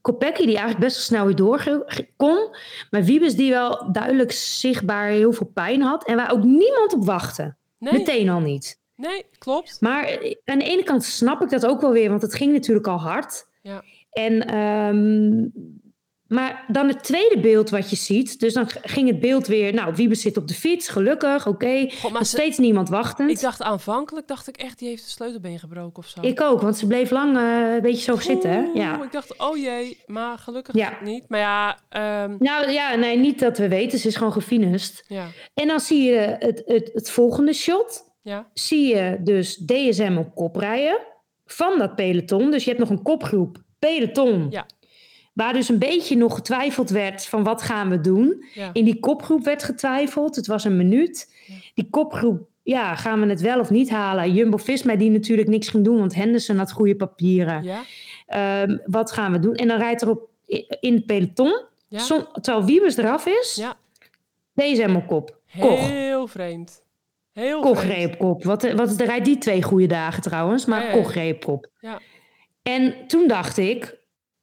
Kopecky die eigenlijk best wel snel weer door ge- ge- kon. Maar Wiebes die wel duidelijk zichtbaar heel veel pijn had. En waar ook niemand op wachtte. Nee. Meteen al niet. Nee, klopt. Maar eh, aan de ene kant snap ik dat ook wel weer, want het ging natuurlijk al hard. Ja. En, ehm, maar dan het tweede beeld wat je ziet. Dus dan g- ging het beeld weer. Nou, Wiebes zit op de fiets, gelukkig, oké. God, maar Nog ze- steeds niemand wachtend. ik dacht aanvankelijk, dacht ik echt, die heeft de sleutelbeen gebroken of zo. Ik ook, want ze bleef lang eh, een beetje zo zitten. hè? Oeh, Ja. Ik dacht, oh jee, maar gelukkig Ja. niet. Maar ja, ehm, Nou ja, nee, niet dat we weten. Ze is gewoon gefinust. ja, En dan zie je het, het, het volgende shot. ja, Zie je dus DSM op kop rijden van dat peloton. Dus je hebt nog een kopgroep, peloton. Ja. Waar dus een beetje nog getwijfeld werd van wat gaan we doen. ja. In die kopgroep werd getwijfeld. Het was een minuut. Ja. Die kopgroep, ja, gaan we het wel of niet halen? Jumbo-Visma die natuurlijk niks ging doen, want Henderson had goede papieren. ja, Ehm, wat gaan we doen? En dan rijdt er op, in het peloton, Ja. zon- terwijl Wiebes eraf is, Ja. deze hem op kop. Koch. Heel vreemd. Heel Koch vreemd. reed op kop. Wat, wat, er rijdt die twee goede dagen trouwens, maar Ja, ja, ja. Koch reed op kop. Ja. En toen dacht ik,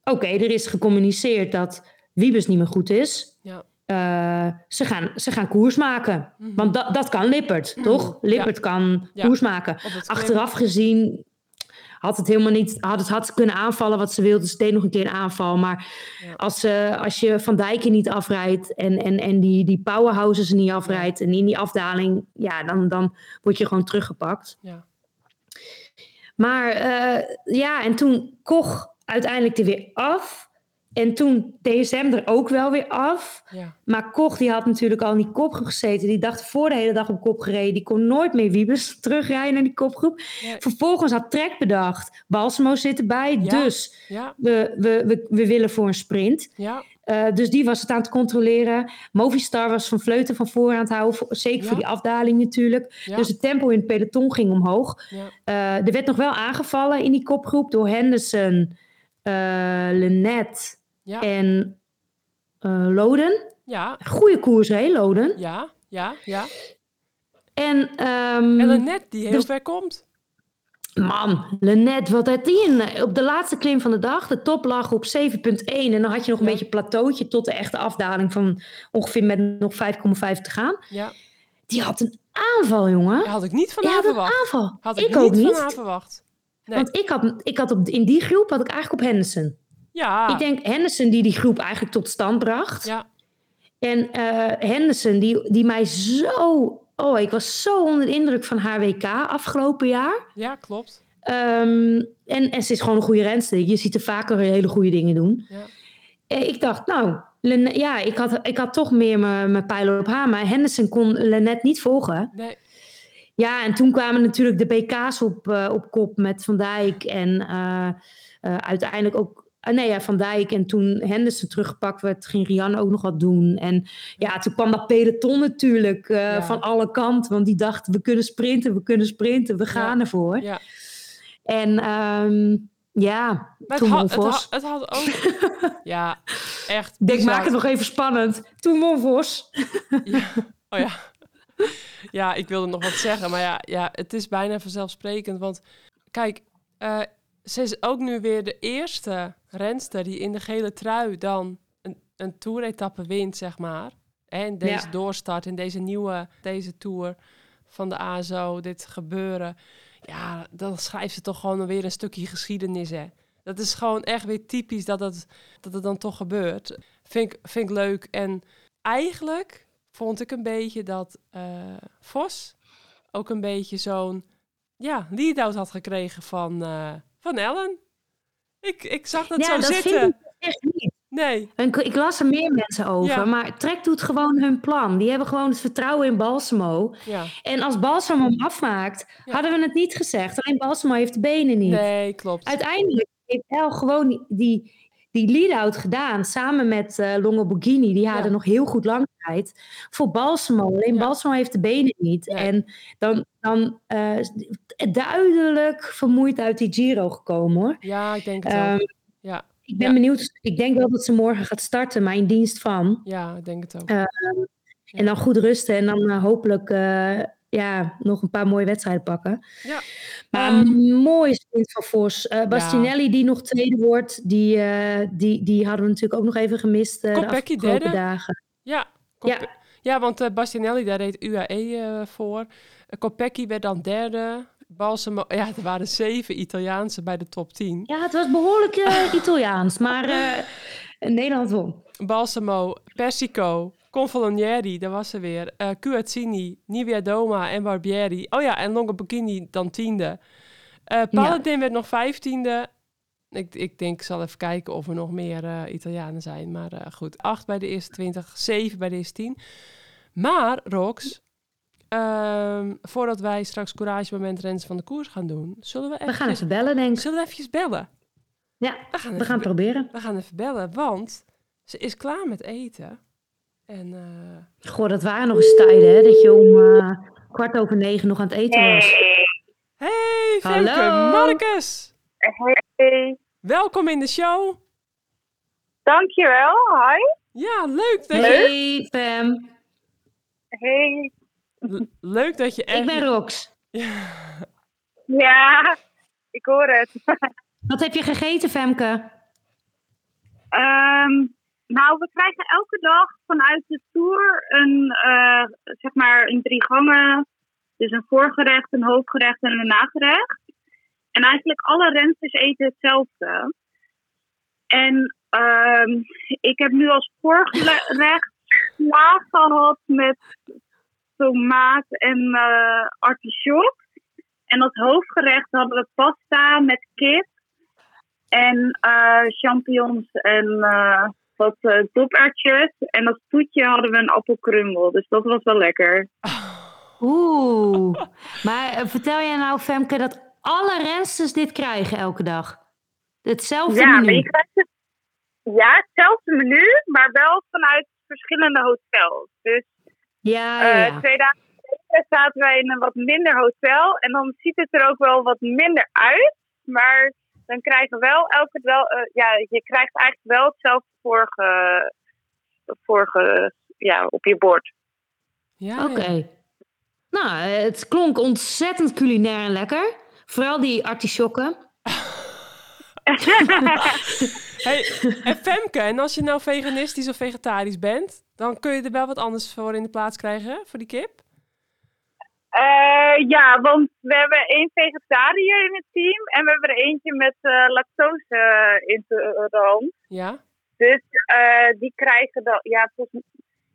oké, er is gecommuniceerd dat Wiebes niet meer goed is. Ja. Eh, ze, gaan, ze gaan koers maken. Mhm. Want dat dat kan Lippert, toch? Ja. Lippert kan Ja. koers maken. Op dat klim- Achteraf gezien had het helemaal niet... Had het had ze kunnen aanvallen wat ze wilde. Ze deed nog een keer een aanval. Maar Ja. als, ze- als je Van Dijken niet afrijdt... en, en, en die, die powerhouses niet afrijdt... en in die afdaling... ja, dan, dan word je gewoon teruggepakt. Ja. Maar eh, ja, en toen Koch uiteindelijk er weer af... En toen DSM er ook wel weer af. Ja, Maar Koch die had natuurlijk al in die kopgroep gezeten. Die dacht voor de hele dag op kop gereden. Die kon nooit meer Wiebes terugrijden naar die kopgroep. Nee. Vervolgens had Trek bedacht. Balsamo zit erbij. Ja. Dus ja, we, we, we, we willen voor een sprint. ja, Eh, dus die was het aan het controleren. Movistar was van Vleuten van voor aan het houden. voor- zeker Ja. voor die afdaling natuurlijk. ja. Dus het tempo in het peloton ging omhoog. ja. Eh, er werd nog wel aangevallen in die kopgroep door Henderson, eh Lennet Ja. en eh, Loden. Ja, Goede koers, hè, Loden? ja, ja, ja. En, ehm En een net die heel Mm. dus- ver komt. man, Lennet, wat had die een, op de laatste klim van de dag? De top lag op 7,1. En dan had je nog een Ja. beetje plateautje tot de echte afdaling van ongeveer met nog 5,5 te gaan. Ja, Die had een aanval, jongen. Ja, had ik niet van Die haar had een verwacht. aanval. Had ah, ik ik, ook niet niet. van haar verwacht. Nee. Want ik had, ik had op, in die groep had ik eigenlijk op Henderson. Ja, Ik denk Henderson die die groep eigenlijk tot stand bracht. Ah. ja, En eh Henderson die, die mij zo... Oh, ik was zo onder de indruk van haar WK afgelopen jaar. ja, klopt. Ehm, en, en ze is gewoon een goede renster. Je ziet er vaker hele goede dingen doen. Ja. Eh, Ik dacht, nou, Lene- ja, ik had, ik had toch meer mijn mijn pijlen op haar. Maar Henderson kon Lennet niet volgen. Nee, Ja, en toen kwamen natuurlijk de BK's op, eh, op kop met Van Dijk. En eh, eh, uiteindelijk ook... ah, nee, ja, Van Dijk. En toen Henderson teruggepakt werd, ging Rian ook nog wat doen. En ja, toen kwam dat peloton natuurlijk eh, Ja. van alle kanten. Want die dacht, we kunnen sprinten, we kunnen sprinten, we gaan ervoor. ja. En ehm, ja, Maar het, toen had, won het, Vos. had, het had ook... ja, echt. Ik denk, bizar. maak het nog even spannend. Toen won Vos. Ja. Oh ja. Ja, ik wilde nog wat zeggen, maar ja, ja het is bijna vanzelfsprekend. Want kijk, eh, ze is ook nu weer de eerste renster die in de gele trui dan een, een toeretappe wint, zeg maar. En deze Ja. doorstart in deze nieuwe, deze tour van de ASO, dit gebeuren. Ja, dan schrijft ze toch gewoon weer een stukje geschiedenis, hè. Dat is gewoon echt weer typisch dat het, dat het dan toch gebeurt. Vind ik, vind ik leuk. En eigenlijk vond ik een beetje dat eh, Vos ook een beetje zo'n ja, lead-out had gekregen van, eh, van Ellen. Ik, ik zag dat ja, zo dat zitten. vind ik echt niet. Nee. En ik- ik las er meer mensen over, Ja. maar Trek doet gewoon hun plan. Die hebben gewoon het vertrouwen in Balsamo. Ja. En als Balsamo hem afmaakt, Ja. hadden we het niet gezegd. Alleen Balsamo heeft de benen niet. Nee, klopt. Uiteindelijk heeft El gewoon die- die, die lead-out gedaan. Samen met eh Longo Bugini. Die hadden Ja. nog heel goed lang tijd. Voor Balsamo. Alleen Ja. Balsamo heeft de benen niet. Nee. En dan, dan eh, duidelijk vermoeid uit die Giro gekomen hoor. Ja, ik denk het Ehm, ook. Ja, ik ben Ja. benieuwd. Ik denk wel dat ze morgen gaat starten. Maar in dienst van. ja, ik denk het ook. Eh, En dan goed rusten. En dan eh, hopelijk... eh, ja, nog een paar mooie wedstrijden pakken. Ja. Maar Ehm, een mooie sprint van Vos. Eh, Bastinelli, die nog tweede wordt, die, eh, die, die hadden we natuurlijk ook nog even gemist eh, de Kopecky afgelopen derde. dagen. Ja. Ja. Kope- ja, want eh Bastianelli, daar reed UAE eh, voor. Eh, Kopecky werd dan derde. Balsamo, ja, er waren zeven Italiaanse bij de top 10. Ja, het was behoorlijk eh, Italiaans, maar eh, Nederland won. Balsamo, Persico, Confolonieri, daar was ze weer. eh Cuazzini, Nivea Doma en Barbieri. Oh ja, en Longo Bikini dan tiende. Eh Paladin werd nog vijftiende. Ik, ik denk, ik zal even kijken of er nog meer eh, Italianen zijn. Maar eh, goed, acht bij de eerste twintig, zeven bij de eerste tien. Maar, Rox, ehm, voordat wij straks Courage Moment Rens van de Koers gaan doen... Zullen we, We gaan eventjes- even bellen, denk ik. zullen we eventjes bellen? Ja, Eh, we gaan, we even gaan het proberen. we gaan even bellen, want ze is klaar met eten. En eh, Goh, dat waren nog eens tijden, hè, dat je om eh, kwart over negen nog aan het eten was. hey, Femke, Hallo. Marcus! Hey, Welkom in de show. dankjewel. Hi. Ja, leuk dat je, Hey, Pam. Hey. le- leuk dat je Ik echt... ben Rox. Ja, ik hoor het. Wat heb je gegeten, Femke? Ehm, nou, we krijgen elke dag vanuit de tour een, eh, zeg maar, een drie gangen. Dus een voorgerecht, een hoofdgerecht en een nagerecht. En eigenlijk alle rensters eten hetzelfde. En ehm, ik heb nu als voorgerecht sla gehad met tomaat en eh artichok. En als hoofdgerecht hadden we pasta met kip. En eh, champignons en eh, wat eh dopertjes. En als toetje hadden we een appelkrummel. Dus dat was wel lekker. Oeh. Maar eh, vertel jij nou, Femke, dat alle rensters dit krijgen elke dag? Hetzelfde ja, maar menu. je krijgt het, ja, hetzelfde menu, maar wel vanuit verschillende hotels. Dus Ja, eh, Oh, ja, ja. twee dagen geleden zaten wij in een wat minder hotel. En dan ziet het er ook wel wat minder uit. Maar dan krijgen we wel elke wel, eh, ja, je krijgt eigenlijk wel hetzelfde vorige, vorige ja, op je bord. Ja, Oké. ja. Nou, eh, het klonk ontzettend culinair en lekker. Vooral die artisjokken. Hey, en Femke, en als je nou veganistisch of vegetarisch bent... dan kun je er wel wat anders voor in de plaats krijgen, voor die kip? Eh, ja, want we hebben één vegetariër in het team en we hebben er eentje met eh, lactose eh, intolerant. Ja? Dus eh, die krijgen dan, ja, volgens-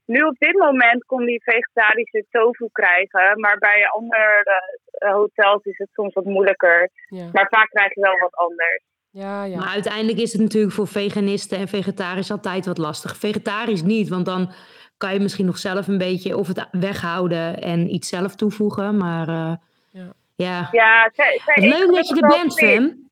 nu op dit moment kon die vegetarische tofu krijgen, maar bij andere eh, hotels is het soms wat moeilijker. Ja, Maar vaak krijg je wel wat anders. ja, ja. Maar uiteindelijk is het natuurlijk voor veganisten en vegetarisch altijd wat lastig. Vegetarisch niet, want dan kan je misschien nog zelf een beetje of het weghouden en iets zelf toevoegen. Maar eh, Ja. ja. Ja, zij, zij Wat eet Leuk dat je er gelukkig wel bent, vlees. Fem.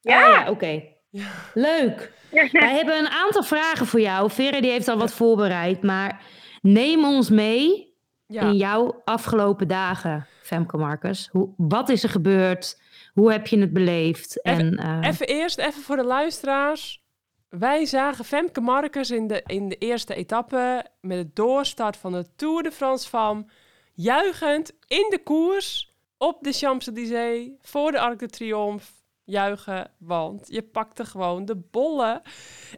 Ja. Ah, ja oké. Ja. Leuk. Wij hebben een aantal vragen voor jou. Vera die heeft al wat voorbereid, maar neem ons mee ja. in jouw afgelopen dagen, Femke Marcus. Hoe, wat is er gebeurd? Hoe heb je het beleefd? En, eh, Even eerst, even voor de luisteraars. Wij zagen Femke Markers in de, in de eerste etappe met het doorstart van de Tour de France van juichend in de koers op de Champs-Élysées voor de Arc de Triomphe juichen, want je pakte gewoon de bollen.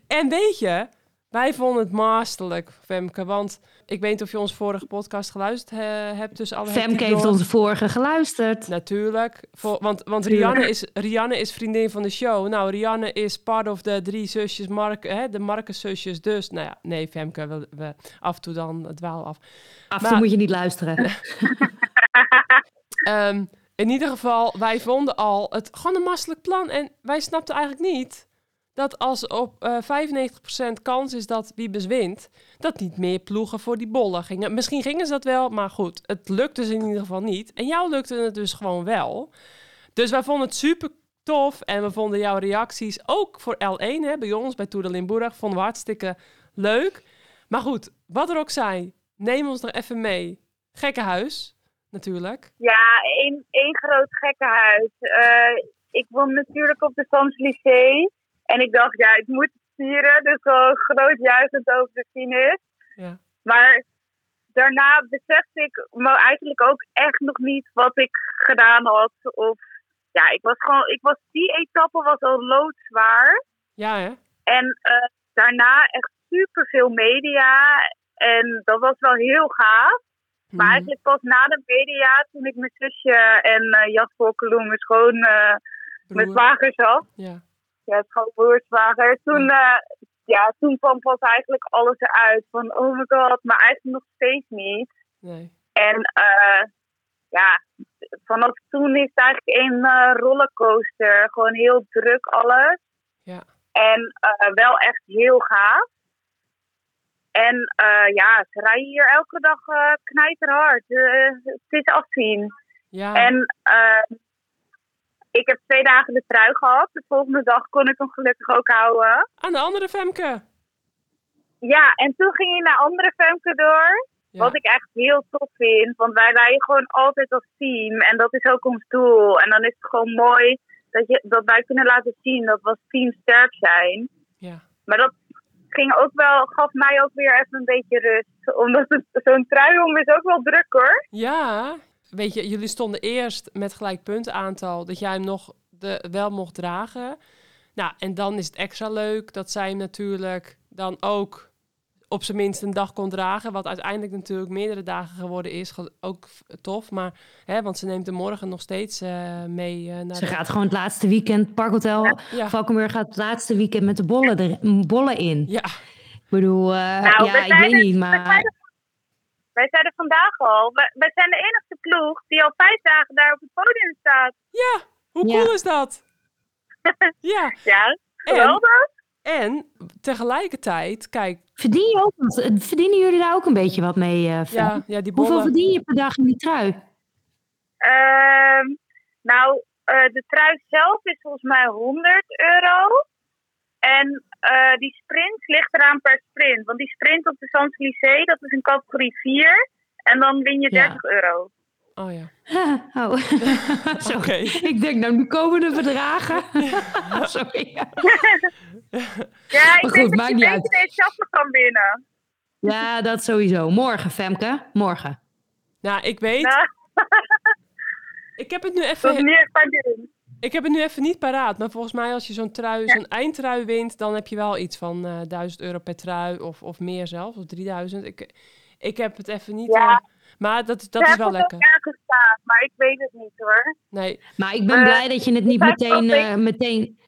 En weet je, wij vonden het masterlijk, Femke, want ik weet niet of je onze vorige podcast geluisterd eh, hebt tussen alle Femke hectiek heeft door. onze vorige geluisterd. Natuurlijk. Voor, want want Tuurlijk. Rianne, is, Rianne is vriendin van de show. Nou, Rianne is part of de drie zusjes, Mark, hè, de Marcus-zusjes. Dus, nou ja, nee, Femke, we, we af en toe dan het dwaal af. Ah, Af en Maar- toe moet je niet luisteren. Ehm, in ieder geval, wij vonden al het gewoon een masselijk plan. En wij snapten eigenlijk niet dat als op eh 95% kans is dat Wiebes wint, dat niet meer ploegen voor die bollen gingen. Misschien gingen ze dat wel, maar goed, het lukte ze in ieder geval niet. En jou lukte het dus gewoon wel. Dus wij vonden het super tof en we vonden jouw reacties ook voor L1 hè, bij ons, bij Tour de Limburg, vonden we hartstikke leuk. Maar goed, wat er ook zij, neem ons nog even mee. Gekke huis, natuurlijk. Ja, één, één groot gekkenhuis. Eh ik woon natuurlijk op de Champs-Élysées. En ik dacht, ja, ik moet het vieren. Dus gewoon groot juichend over de finish. Ja. Maar daarna besefte ik me eigenlijk ook echt nog niet wat ik gedaan had. Of ja, ik was gewoon, ik was, die etappe was al loodzwaar. Ja, hè? En eh, daarna echt superveel media. En dat was wel heel gaaf. Maar Mm-hmm. Mhm. eigenlijk pas na de media, toen ik mijn zusje en eh, Jasper Keloen, mijn schoon, eh, mijn Broer. zwager zag. Ja. Ja, schoonbroer, zwager. Toen, eh, ja, toen kwam pas eigenlijk alles eruit. Van oh my god, maar eigenlijk nog steeds niet. Nee. En eh, ja, vanaf toen is het eigenlijk een eh, rollercoaster. Gewoon heel druk alles. Ja. En eh, wel echt heel gaaf. En eh, ja, ze rijden hier elke dag eh knijterhard. Eh, het is afzien. Ja. En eh, ik heb twee dagen de trui gehad. De volgende dag kon ik hem gelukkig ook houden. Aan de andere Femke. Ja, en toen ging hij naar andere Femke door. Ja. Wat ik echt heel tof vind. Want wij rijden gewoon altijd als team. En dat is ook ons doel. En dan is het gewoon mooi dat, je, dat wij kunnen laten zien dat we als team sterk zijn. Ja. Maar dat ging ook wel, gaf mij ook weer even een beetje rust. Omdat het- zo'n trui om is ook wel druk hoor. Ja. Weet je, jullie stonden eerst met gelijk puntaantal dat jij hem nog de, wel mocht dragen. Nou, en dan is het extra leuk dat zij hem natuurlijk dan ook op zijn minst een dag kon dragen. Wat uiteindelijk natuurlijk meerdere dagen geworden is. Ge- Ook f- tof, maar hè, want ze neemt hem morgen nog steeds eh, mee eh, naar Ze de- gaat gewoon het laatste weekend, Parkhotel Ja. Valkenburg gaat het laatste weekend met de bollen, er, m, bollen in. Ja, Ik bedoel, eh, Nou, ja, wij ik zijn weet er- niet, Wij zijn maar er- Wij zijn er vandaag al. Wij, wij zijn de enige ploeg die al vijf dagen daar op het podium staat. ja. hoe Ja. cool is dat? ja, Ja, En- geweldig. en tegelijkertijd, kijk, verdien je ook, wat? Eh, verdienen jullie daar ook een beetje wat mee? eh, Fer? ja, ja die Hoeveel bollen. verdien je per dag in die trui? Ehm, nou, eh, de trui zelf is volgens mij 100 euro. En eh, die sprint ligt eraan per sprint. Want die sprint op de Champs-Élysées, dat is een categorie 4. En dan win je Ja. 30 euro. Oh ja, Oh, oké. sorry. Ik denk, nou, nu komen de bedragen. sorry. Ja, Maar ik denk goed, dat maakt je niet beter uit. deze chappen kan winnen. Ja, dat sowieso. Morgen, Femke. Morgen. Nou, ik weet. Nou, Ik heb het nu dat is even. niet echt aan doen. Ik heb het nu even niet paraat. Maar volgens mij, als je zo'n trui, zo'n eindtrui wint, dan heb je wel iets van eh 1000 euro per trui. Of, of meer zelfs, of 3000. Ik, ik heb het even niet. Ja. eh, maar dat, dat is wel lekker. Ja, gestaan, maar ik weet het niet hoor. Nee, Maar ik ben Eh, blij dat je het niet ik heb meteen, ook eh, meteen...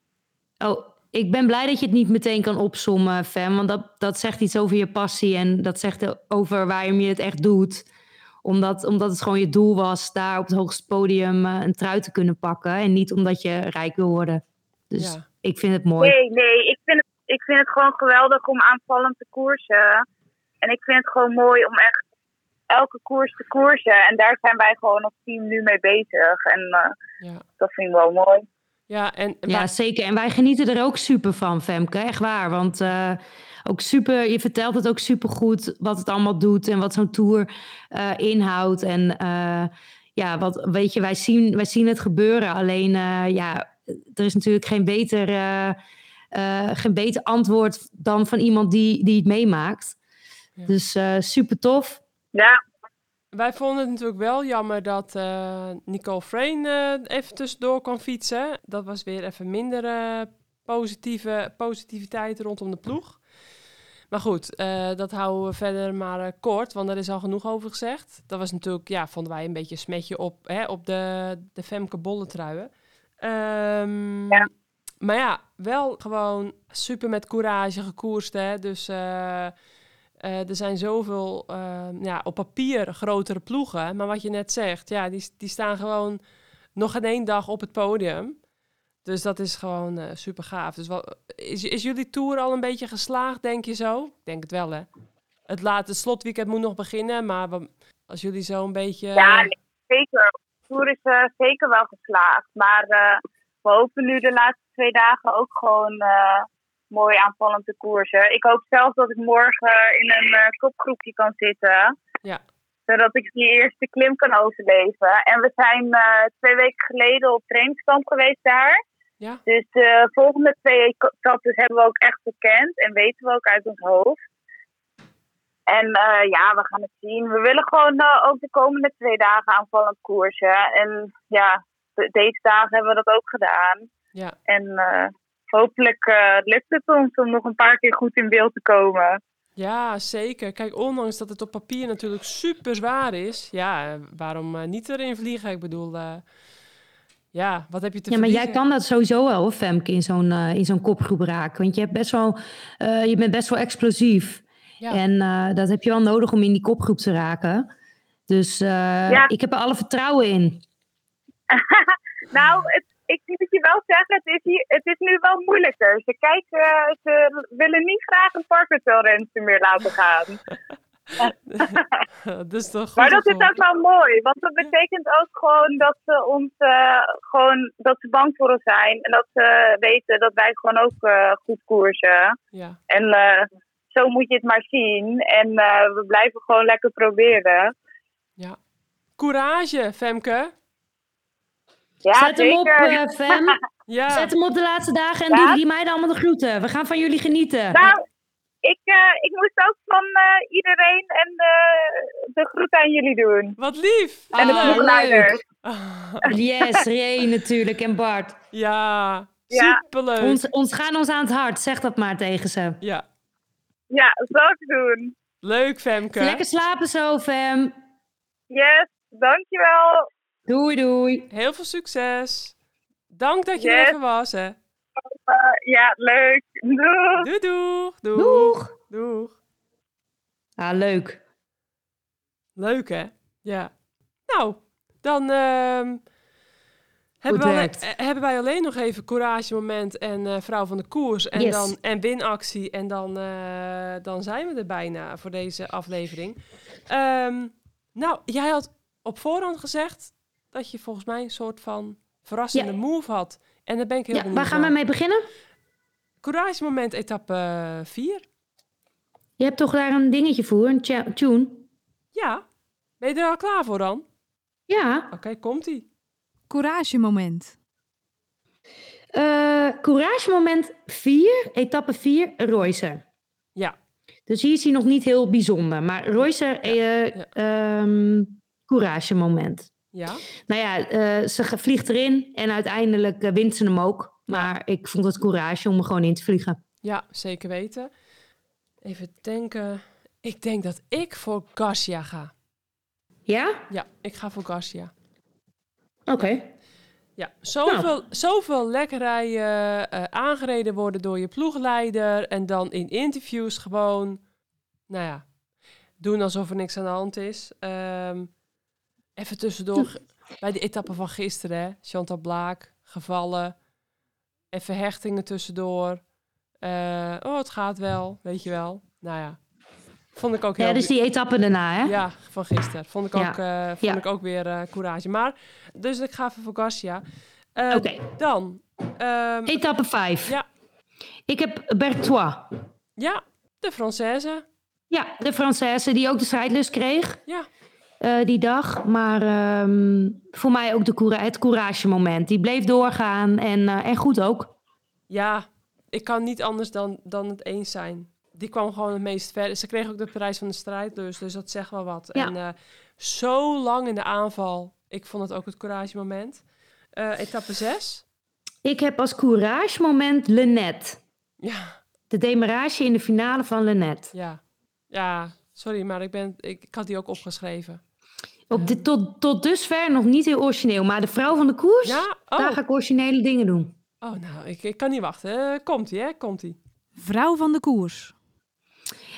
Oh, ik ben blij dat je het niet meteen kan opsommen, Fem. Want dat, dat zegt iets over je passie en dat zegt over waarom je het echt doet. Omdat, omdat het gewoon je doel was daar op het hoogste podium eh, een trui te kunnen pakken. En niet omdat je rijk wil worden. Dus Ja. ik vind het mooi. Nee, nee, ik vind, het, ik vind het gewoon geweldig om aanvallend te koersen. En ik vind het gewoon mooi om echt elke koers te koersen. En daar zijn wij gewoon als team nu mee bezig. En eh, ja. dat vind ik wel mooi. Ja, en Ja, maar- zeker. En wij genieten er ook super van, Femke. Echt waar. Want eh, ook super, je vertelt het ook super goed wat het allemaal doet en wat zo'n tour eh, inhoudt. En eh, ja, wat, weet je, wij zien, wij zien het gebeuren. Alleen eh, ja, er is natuurlijk geen beter, eh, eh, geen beter antwoord dan van iemand die, die het meemaakt. Ja. Dus eh, super tof. Ja, wij vonden het natuurlijk wel jammer dat eh, Nicole Frame even tussendoor kon fietsen. Dat was weer even minder eh, positieve, positiviteit rondom de ploeg. Maar goed, eh, dat houden we verder maar eh, kort, want daar is al genoeg over gezegd. Dat was natuurlijk, ja, vonden wij een beetje een smetje op, hè, op de, de Femke Bolletruien. Ehm, Ja. Maar ja, wel gewoon super met courage gekoerst, hè. Dus eh, eh, er zijn zoveel eh, ja, op papier grotere ploegen. Maar wat je net zegt, ja, die, die staan gewoon nog in één dag op het podium. Dus dat is gewoon eh, super gaaf. Dus wat, is, is jullie tour al een beetje geslaagd, denk je zo? Ik denk het wel, hè? Het, laat, het slotweekend moet nog beginnen, maar we- als jullie zo een beetje... Ja, nee, zeker. De tour is eh, zeker wel geslaagd. Maar eh, we hopen nu de laatste twee dagen ook gewoon eh, mooi aanvallend te koersen. Ik hoop zelfs dat ik morgen in een eh, kopgroepje kan zitten. Ja. Zodat ik die eerste klim kan overleven. En we zijn eh, twee weken geleden op trainingskamp geweest daar. Ja. Dus de volgende twee etappes hebben we ook echt bekend. En weten we ook uit ons hoofd. En eh, ja, we gaan het zien. We willen gewoon eh, ook de komende twee dagen aanvallend koersen. En ja, de- deze dagen hebben we dat ook gedaan. Ja. En eh, hopelijk eh, lukt het ons om nog een paar keer goed in beeld te komen. Ja, zeker. Kijk, ondanks dat het op papier natuurlijk super zwaar is, ja, eh, waarom eh, niet erin vliegen? Ik bedoel, eh, ja, wat heb je te Ja, maar jij verliezen? kan dat sowieso wel, hoor, Femke, in zo'n eh, in zo'n kopgroep raken. Want je, hebt best wel, eh, je bent best wel explosief. Ja. En eh, dat heb je wel nodig om in die kopgroep te raken. Dus eh, Ja. ik heb er alle vertrouwen in. Nou, het, ik moet je wel zeggen, het is, hier, het is nu wel moeilijker. Ze, kijken, eh, ze willen niet graag een parkhotelrense meer laten gaan. dus toch goed Maar dat om is te ook wel mooi, want dat betekent ook gewoon dat ze ons eh, gewoon dat ze bang voor ons zijn en dat ze weten dat wij gewoon ook eh, goed koersen. horen. Ja. En eh, zo moet je het maar zien. En eh, we blijven gewoon lekker proberen. Courage, Femke. Ja, Zet hem op, zeker. eh, Fem. Ja, Zet hem op de laatste dagen en Ja? doe die meiden allemaal de groeten. We gaan van jullie genieten. Nou, ik, eh, ik moest ook van eh, iedereen en eh, de groet aan jullie doen. wat lief. En de Ah, Leuk. ploegleiders. Oh, Yes, Ray natuurlijk en Bart. Ja, Ja. superleuk. Ons, ons gaan ons aan het hart, zeg dat maar tegen ze. Ja, Ja, zo te doen. leuk Femke. Lekker slapen zo, Fem. Yes, dankjewel. Doei, doei. Heel veel succes. Dank dat je Yes. er even was, hè. Eh, ja, leuk. Doei. Doei, doeg. Doeg. Doeg. Doeg. Ah, leuk. Leuk, hè? Ja. Nou, dan ehm, hebben, Goed wij, werkt. eh, hebben wij alleen nog even courage moment en eh, vrouw van de koers en, Yes. dan, en winactie. En dan, eh, dan zijn we er bijna voor deze aflevering. Ehm, nou, jij had op voorhand gezegd dat je volgens mij een soort van verrassende Ja. move had. En daar ben ik heel Ja, benieuwd waar gaan we naar. mee beginnen? Courage moment etappe eh, 4. Je hebt toch daar een dingetje voor, een tja- tune? Ja. Ben je er al klaar voor dan? Ja. Oké, komt-ie. Couragemoment. Eh courage moment 4, etappe 4, Royser. Ja. Dus hier is hij nog niet heel bijzonder. Maar Royser, eh ja. ehm, courage moment. Ja. Nou ja, eh, ze ge- vliegt erin en uiteindelijk eh, wint ze hem ook. Maar ik vond het courage om er gewoon in te vliegen. Ja, zeker weten. Even denken. Ik denk dat ik voor Garcia ga. Ja? Ja, ik ga voor Garcia. Oké. Ja, zoveel, zoveel lekkerij eh, eh, aangereden worden door je ploegleider. En dan in interviews gewoon, nou ja, doen alsof er niks aan de hand is. Ehm, even tussendoor, ge- bij de etappe van gisteren, hè. Chantal Blaak, gevallen. Even hechtingen tussendoor. Eh, oh, het gaat wel, weet je wel. Nou ja, vond ik ook heel... Ja, dus die etappe daarna, hè? Ja, van gisteren. Vond ik ook, Ja. eh, vond Ja. ik ook weer eh, courage. Maar, dus ik ga even voor Garcia. Eh, Oké, Dan. ehm, etappe 5. Ja. Ik heb Bertois. ja, de Française. Ja, de Française die ook de strijdlust kreeg Ja, eh, die dag. Maar ehm, voor mij ook de coura- het courage moment. Die bleef doorgaan en, eh, en goed ook. ja ik kan niet anders dan, dan het eens zijn. Die kwam gewoon het meest ver. Ze kreeg ook de prijs van de strijd, dus, dus dat zegt wel wat. Ja. En eh, zo lang in de aanval. Ik vond het ook het courage moment. Eh, etappe 6. Ik heb als courage moment Lennet. Ja, De demarage in de finale van Lennet. ja. Ja, sorry, maar ik, ben, ik, ik had die ook opgeschreven. Op dit tot, tot dusver nog niet heel origineel. Maar de vrouw van de koers, Ja? daar Oh, ga ik originele dingen doen. oh nou, ik, ik kan niet wachten. Eh, komt-ie, hè? Komt-ie. Vrouw van de koers.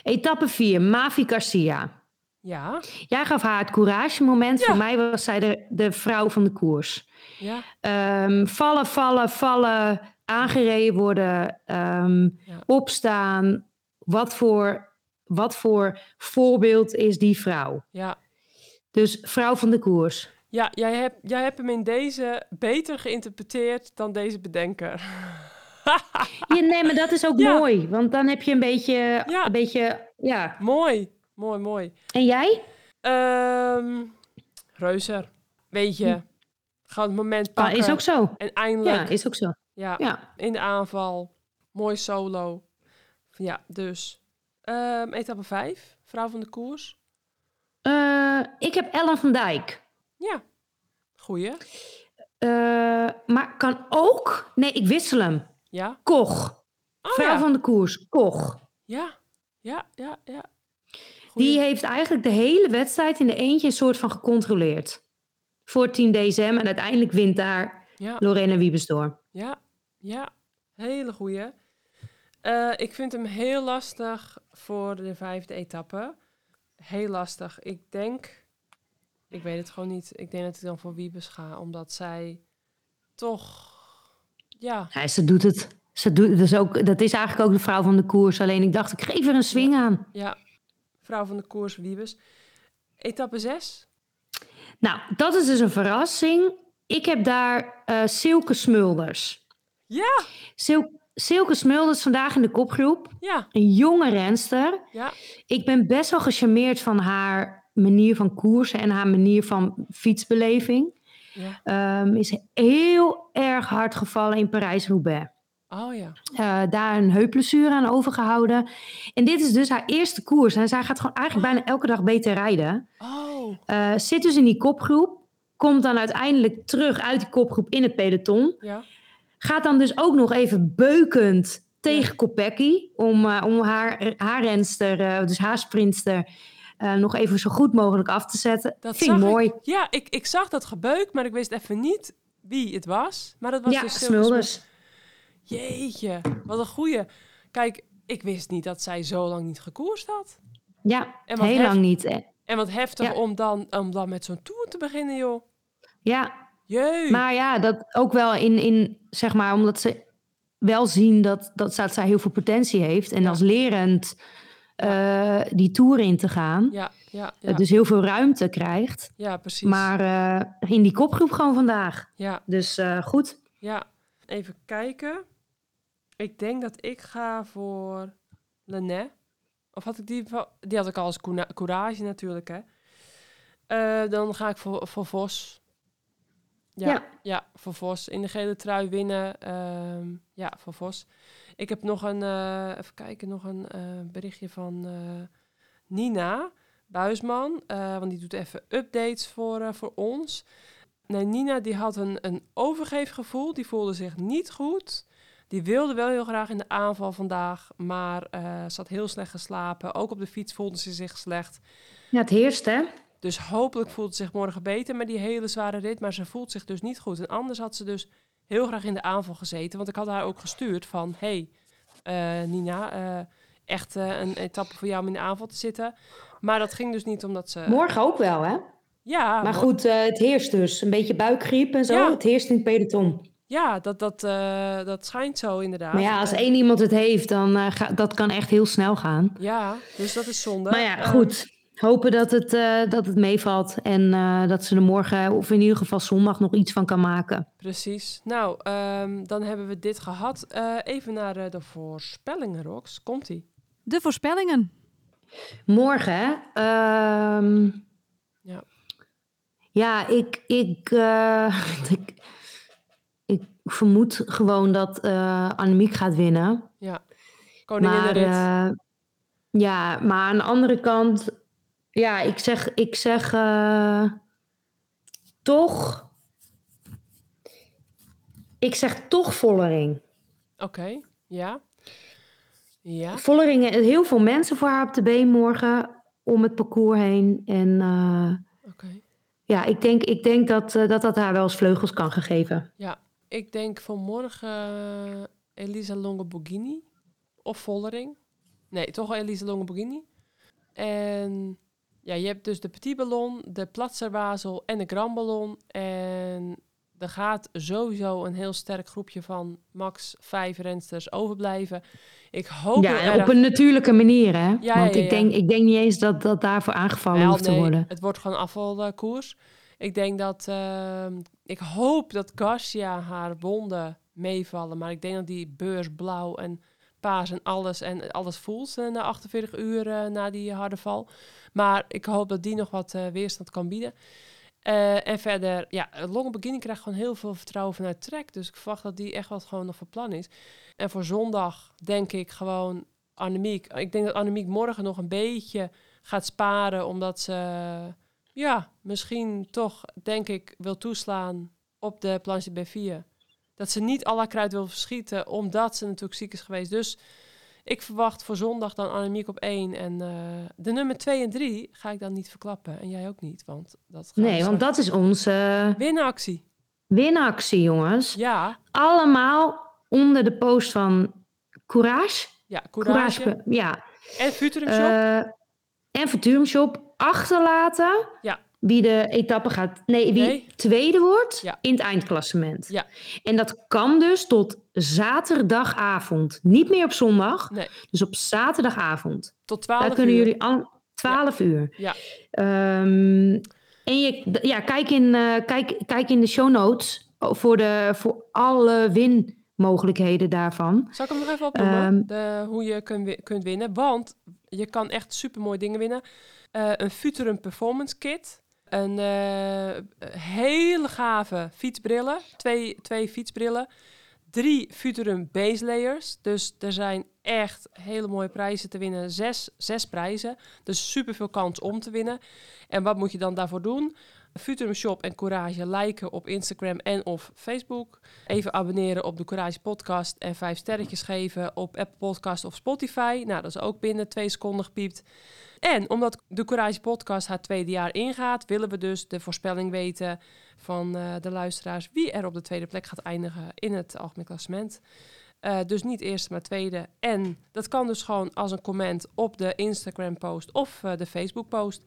Etappe 4, Mavi Garcia. Ja, Jij gaf haar het courage-moment. Ja. Voor mij was zij de, de vrouw van de koers. ja, Ehm, vallen, vallen, vallen, aangereden worden, ehm, opstaan. Wat voor, wat voor voorbeeld is die vrouw? ja. Dus vrouw van de koers. Ja, jij hebt, jij hebt hem in deze beter geïnterpreteerd dan deze bedenker. Ja, nee, maar dat is ook Ja. mooi. Want dan heb je een beetje, Ja. een beetje, ja. mooi, mooi, mooi. En jij? Ehm Reuzer, weet je, gewoon het moment Hm. Ah, pakken. is ook zo. En Ja, eindelijk, is ook zo. ja, Ja. in de aanval, mooi solo. Ja, dus. Ehm, etappe 5, vrouw van de koers. Eh, ik heb Ellen van Dijk. Ja, goeie. Eh, maar kan ook... Nee, ik wissel hem. Ja. Koch. Oh, vrouw ja. van de koers. Koch. ja, ja, ja, ja. Goeie. Die heeft eigenlijk de hele wedstrijd in de eentje een soort van gecontroleerd. Voor Team DSM. En uiteindelijk wint daar ja. Lorena Wiebes door. Ja, ja, hele goeie. Eh, ik vind hem heel lastig voor de vijfde etappe. Heel lastig. Ik denk, ik weet het gewoon niet. Ik denk dat ik dan voor Wiebes ga, omdat zij toch, ja, Ja, ze doet het. Ze doet, dat, is ook, dat is eigenlijk ook de vrouw van de koers. Alleen ik dacht, ik geef er een swing aan. ja, vrouw van de koers Wiebes. Etappe 6? Nou, dat is dus een verrassing. Ik heb daar eh Silke Smulders. Ja, Sil- Silke Smulders vandaag in de kopgroep. ja, Een jonge renster. ja, Ik ben best wel gecharmeerd van haar manier van koersen en haar manier van fietsbeleving. ja. Ehm, is heel erg hard gevallen in Parijs-Roubaix. Oh ja, Eh, daar een heupblessure aan overgehouden. En dit is dus haar eerste koers. En zij gaat gewoon eigenlijk bijna elke dag beter rijden. oh, Eh, zit dus in die kopgroep. Komt dan uiteindelijk terug uit die kopgroep in het peloton. ja, Gaat dan dus ook nog even beukend tegen Kopecky. Om, eh, om haar, haar renster, eh, dus haar sprinster, eh, nog even zo goed mogelijk af te zetten. dat Vind ik zag mooi. ik. Ja, ik, ik zag dat gebeuk, maar ik wist even niet wie het was. Maar dat was Ja, dus Silke Smulders. Smulders. Jeetje, wat een goeie. Kijk, ik wist niet dat zij zo lang niet gekoerst had. Ja, En wat heel hef- lang niet. Eh, En wat heftig Ja. om, dan, om dan met zo'n tour te beginnen, joh. Ja, Jee. Maar ja, dat ook wel in, in zeg maar, omdat ze wel zien dat, dat, dat zij heel veel potentie heeft. En Ja. als lerend eh, die tour in te gaan. Ja, ja, eh, ja, Dus heel veel ruimte krijgt. ja, precies. Maar eh, in die kopgroep gewoon vandaag. Ja, Dus eh, goed. ja. Even kijken. Ik denk dat ik ga voor Lené. Of had ik die... wel- Die had ik al als coena- courage natuurlijk, hè. Eh, dan ga ik voor, voor Vos. Ja, ja. Ja. voor Vos. In de gele trui winnen. ehm, ja, voor Vos. Ik heb nog een, eh, even kijken, nog een eh, berichtje van eh, Nina Buisman. eh, want die doet even updates voor, eh, voor ons. Nee, Nina die had een, een overgeefgevoel. Die voelde zich niet goed. Die wilde wel heel graag in de aanval vandaag, maar eh, ze had heel slecht geslapen. Ook op de fiets voelde ze zich slecht. Ja, het heerst, hè? Dus hopelijk voelt ze zich morgen beter met die hele zware rit. Maar ze voelt zich dus niet goed. En anders had ze dus heel graag in de aanval gezeten. Want ik had haar ook gestuurd van... hey, eh, Nina, eh, echt eh, een etappe voor jou om in de aanval te zitten. Maar dat ging dus niet omdat ze... Morgen ook wel, hè? ja, maar mo- goed, eh, het heerst dus. Een beetje buikgriep en zo. Ja. Het heerst in het peloton. ja dat, dat, eh, dat schijnt zo inderdaad. Maar ja, als één iemand het heeft, dan eh, ga- dat kan echt heel snel gaan. Ja, dus dat is zonde. Maar ja, Ehm, goed. Hopen dat het, eh, dat het meevalt. En eh, dat ze er morgen, of in ieder geval zondag, nog iets van kan maken. Precies. Nou, ehm, dan hebben we dit gehad. Eh, even naar eh, de voorspellingen, Rox. Komt-ie. De voorspellingen. Morgen, hè? Ehm, Ja. Ja, ik, ik, eh, ik, ik vermoed gewoon dat eh Annemiek gaat winnen. Koningin de rit. eh, ja, maar aan de andere kant, ja, ik zeg, ik zeg eh, toch. Ik zeg toch Vollering. Oké, ja. Ja, Vollering, eh, heel veel mensen voor haar op de been morgen om het parcours heen. En eh, oké. ja, ik denk, ik denk dat, eh, dat dat haar wel eens vleugels kan gaan geven. Ik denk vanmorgen eh, Elisa Longo-Borghini. Of Vollering. Nee, toch wel Elisa Longo-Borghini. En Ja, je hebt dus de petit ballon, de platzerwazel en de grand ballon. En er gaat sowieso een heel sterk groepje van max vijf rensters overblijven. Ik hoop ja, heel en op erg- een natuurlijke manier, hè? Ja, Want ja, ja. Ik, denk, ik denk niet eens dat dat daarvoor aangevallen Wel, hoeft te nee, worden. Het wordt gewoon afvalkoers. Ik denk dat. ehm, ik hoop dat Garcia haar wonden meevallen. Maar ik denk dat die beurs blauw en paas en alles. En alles voelt eh, na 48 uur eh, na die harde val. Maar ik hoop dat die nog wat eh, weerstand kan bieden. Eh, en verder, ja, Long Beginning krijgt gewoon heel veel vertrouwen vanuit Trek. Dus ik verwacht dat die echt wat gewoon nog van plan is. En voor zondag denk ik gewoon Annemiek. Ik denk dat Annemiek morgen nog een beetje gaat sparen. Omdat ze, ja, misschien toch, denk ik, wil toeslaan op de planche bij 4. Dat ze niet alle kruid wil verschieten, omdat ze natuurlijk ziek is geweest. Dus ik verwacht voor zondag dan Annemiek op 1. En eh, de nummer 2 en 3 ga ik dan niet verklappen. En jij ook niet, want dat gaat Nee, want dat is onze eh, Winactie. winactie, jongens. Ja, Allemaal onder de post van Courage. ja, courage. Ja. En Futurum Shop. Eh, en Futurum Shop achterlaten. Ja. Wie de etappe gaat. Nee, wie Nee. tweede wordt Ja. in het eindklassement. Ja. En dat kan dus tot zaterdagavond. Niet meer op zondag. Nee. Dus op zaterdagavond. Tot Daar 12 uur. kunnen jullie al 12 uur. Ja. Ehm, en je, d- ja, kijk, in, eh, kijk, kijk in de show notes voor, de, voor alle winmogelijkheden daarvan. Zal ik hem nog even opnoemen? Ehm. de, hoe je kun wi- kunt winnen. Want je kan echt supermooie dingen winnen. Eh, een Futurum Performance Kit. Een eh, hele gave fietsbrillen. Twee, twee fietsbrillen. Drie Futurum Base Layers. Dus er zijn echt hele mooie prijzen te winnen. Zes, zes prijzen. Dus super veel kans om te winnen. En wat moet je dan daarvoor doen? Futurum Shop en Courage liken op Instagram en of Facebook. Even abonneren op de Courage Podcast en vijf sterretjes geven op Apple Podcast of Spotify. Nou, dat is ook binnen twee seconden gepiept. En omdat de Courage Podcast haar tweede jaar ingaat, willen we dus de voorspelling weten van eh, de luisteraars wie er op de tweede plek gaat eindigen in het algemeen klassement. Eh, dus niet eerste, maar tweede. En dat kan dus gewoon als een comment op de Instagram-post of eh, de Facebook-post.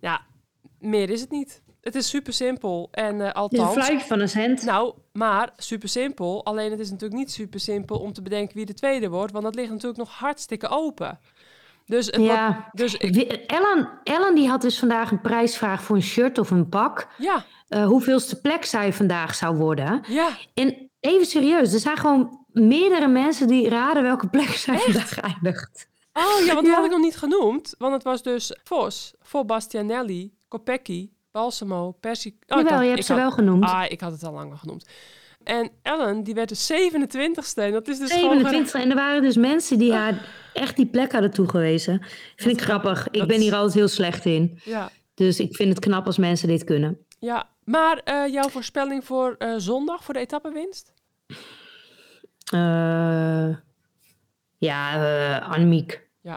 Ja, meer is het niet. Het is super simpel. En eh Het is een althans, fluitje van een cent. nou, maar super simpel. Alleen het is natuurlijk niet super simpel om te bedenken wie de tweede wordt, want dat ligt natuurlijk nog hartstikke open. Dus, het wordt- ja. dus ik, We- Ellen, Ellen die had dus vandaag een prijsvraag voor een shirt of een pak. ja, Eh, hoeveelste plek zij vandaag zou worden. ja, En even serieus, er zijn gewoon meerdere mensen die raden welke plek zij vandaag eindigt. Oh ja, want dat Ja. had ik nog niet genoemd. Want het was dus Vos, voor Bastianelli, Kopecky, Balsamo, Persie... Oh, ik Jawel, had- je hebt ik ze had- wel genoemd. Ah, ik had het al langer genoemd. En Ellen, die werd de 27ste. En dat is dus gewoon... 27. En er waren dus mensen die haar echt die plek hadden toegewezen. Vind ik grappig. Ik dat ben is- hier altijd heel slecht in. Ja, Dus ik vind het knap als mensen dit kunnen. ja. Maar eh, jouw voorspelling voor eh, zondag, voor de etappenwinst? Eh, ja, eh Annemiek. Ik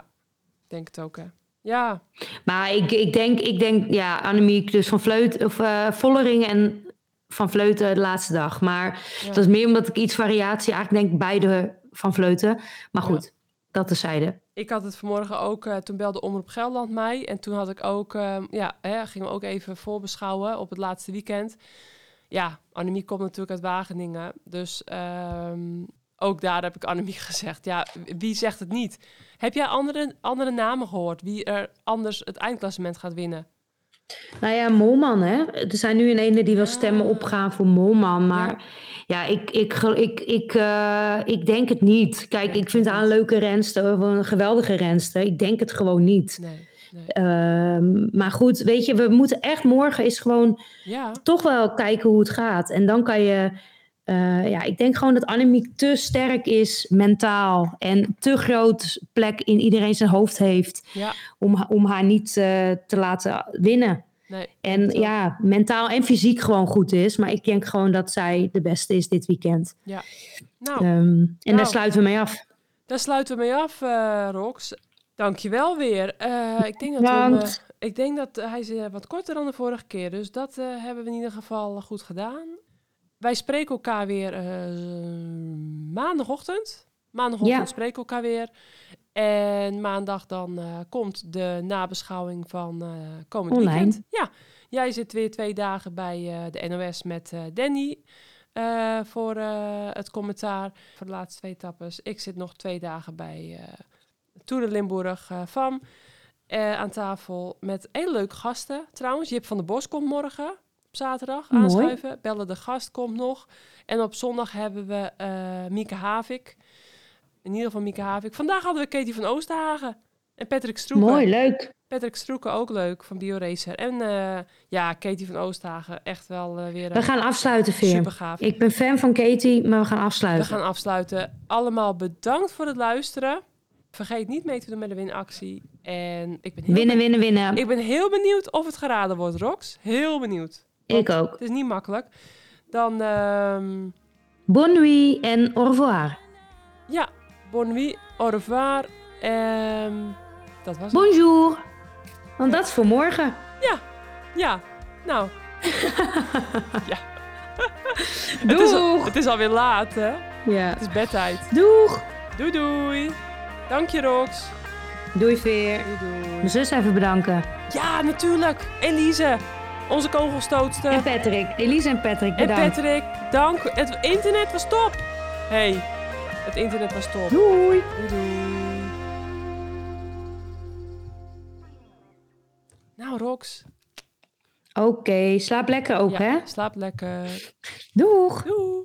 denk het ook, hè. Ja, Maar ik, ik, denk, ik denk, ja, Annemiek, dus van Vleut, of eh, Vollering en van Vleuten de laatste dag. Maar Ja. dat is meer omdat ik iets variatie eigenlijk denk beide van Vleuten. Maar goed, dat terzijde. Ik had het vanmorgen ook, eh, toen belde Omroep Gelderland mij. En toen had ik ook, eh, ja, hè, gingen we ook even voorbeschouwen op het laatste weekend. Ja, Annemie komt natuurlijk uit Wageningen. Dus ehm, ook daar heb ik Annemie gezegd. Ja, wie zegt het niet? Heb jij andere, andere namen gehoord? Wie er anders het eindklassement gaat winnen? Nou ja, Molman, hè. Er zijn nu in ene die wel stemmen Ja. opgaan voor Molman. Maar ja, ik, ik, gel- ik, ik, eh, ik denk het niet. Kijk, ik vind haar een leuke renster, wel een geweldige renster. Ik denk het gewoon niet. Nee, nee. Ehm, maar goed, weet je, we moeten echt morgen is gewoon Ja, toch wel kijken hoe het gaat. En dan kan je. eh, ja, ik denk gewoon dat Annemiek te sterk is mentaal. En te groot plek in iedereen zijn hoofd heeft. ja, Om, ha- om haar niet eh, te laten winnen. nee. En klopt. ja, mentaal en fysiek gewoon goed is. Maar ik denk gewoon dat zij de beste is dit weekend. Nou, Ehm, en daar Nou. sluiten we mee af. Daar sluiten we mee af, eh Rox. Dankjewel weer. Eh ik, denk dat we hem, eh, Bedankt. ik denk dat hij is eh, wat korter dan de vorige keer. Dus dat eh, hebben we in ieder geval goed gedaan. Wij spreken elkaar weer eh, maandagochtend. Maandagochtend Ja. spreken we elkaar weer. En maandag dan eh, komt de nabeschouwing van eh komend Online. weekend. Ja, jij zit weer twee dagen bij eh, de NOS met eh, Danny eh, voor eh, het commentaar voor de laatste twee tappes. Ik zit nog twee dagen bij eh Tour de Limburg eh van eh, aan tafel met hele leuke gasten. Trouwens, Jip van der Bos komt morgen op zaterdag Mooi. aanschuiven. Bellen de gast komt nog. En op zondag hebben we eh Mieke Havik. In ieder geval Mieke Havik. Vandaag hadden we Katie van Oosterhagen. En Patrick Stroeken. Mooi, leuk. Patrick Stroeken ook leuk van BioRacer. En eh, ja, Katie van Oosterhagen. Echt wel eh, weer We gaan afsluiten, super Veer. gaaf. Ik ben fan van Katie, maar we gaan We afsluiten. gaan afsluiten. Allemaal bedankt voor het luisteren. Vergeet niet mee te doen met de winactie. En ik ben heel, Winnen, winnen, winnen. Ik ben heel benieuwd of het geraden wordt, Rox. Heel benieuwd. ik ook. Het is niet makkelijk. Dan, ehm, Bon nuit en au revoir. ja, bon nuit, au revoir. Ehm, dat was het. Bonjour. Want dat is voor morgen. Ja, nou, het is, al- Doeg. het is alweer laat, hè? Ja. Het is bedtijd. Doeg. Doei, doei. Dank je, Rox. Doei, Veer. Doei, doei. Mijn zus even bedanken. Ja, natuurlijk. Elise, onze kogelstootster. En Patrick. Elise en Patrick, En bedankt. Patrick, dank. Het internet was top. Hé, hey, het internet was top. Doei. Doei, doei. Nou, Rox. Oké, slaap lekker ook, Ja, hè? Slaap lekker. Doeg. Doei.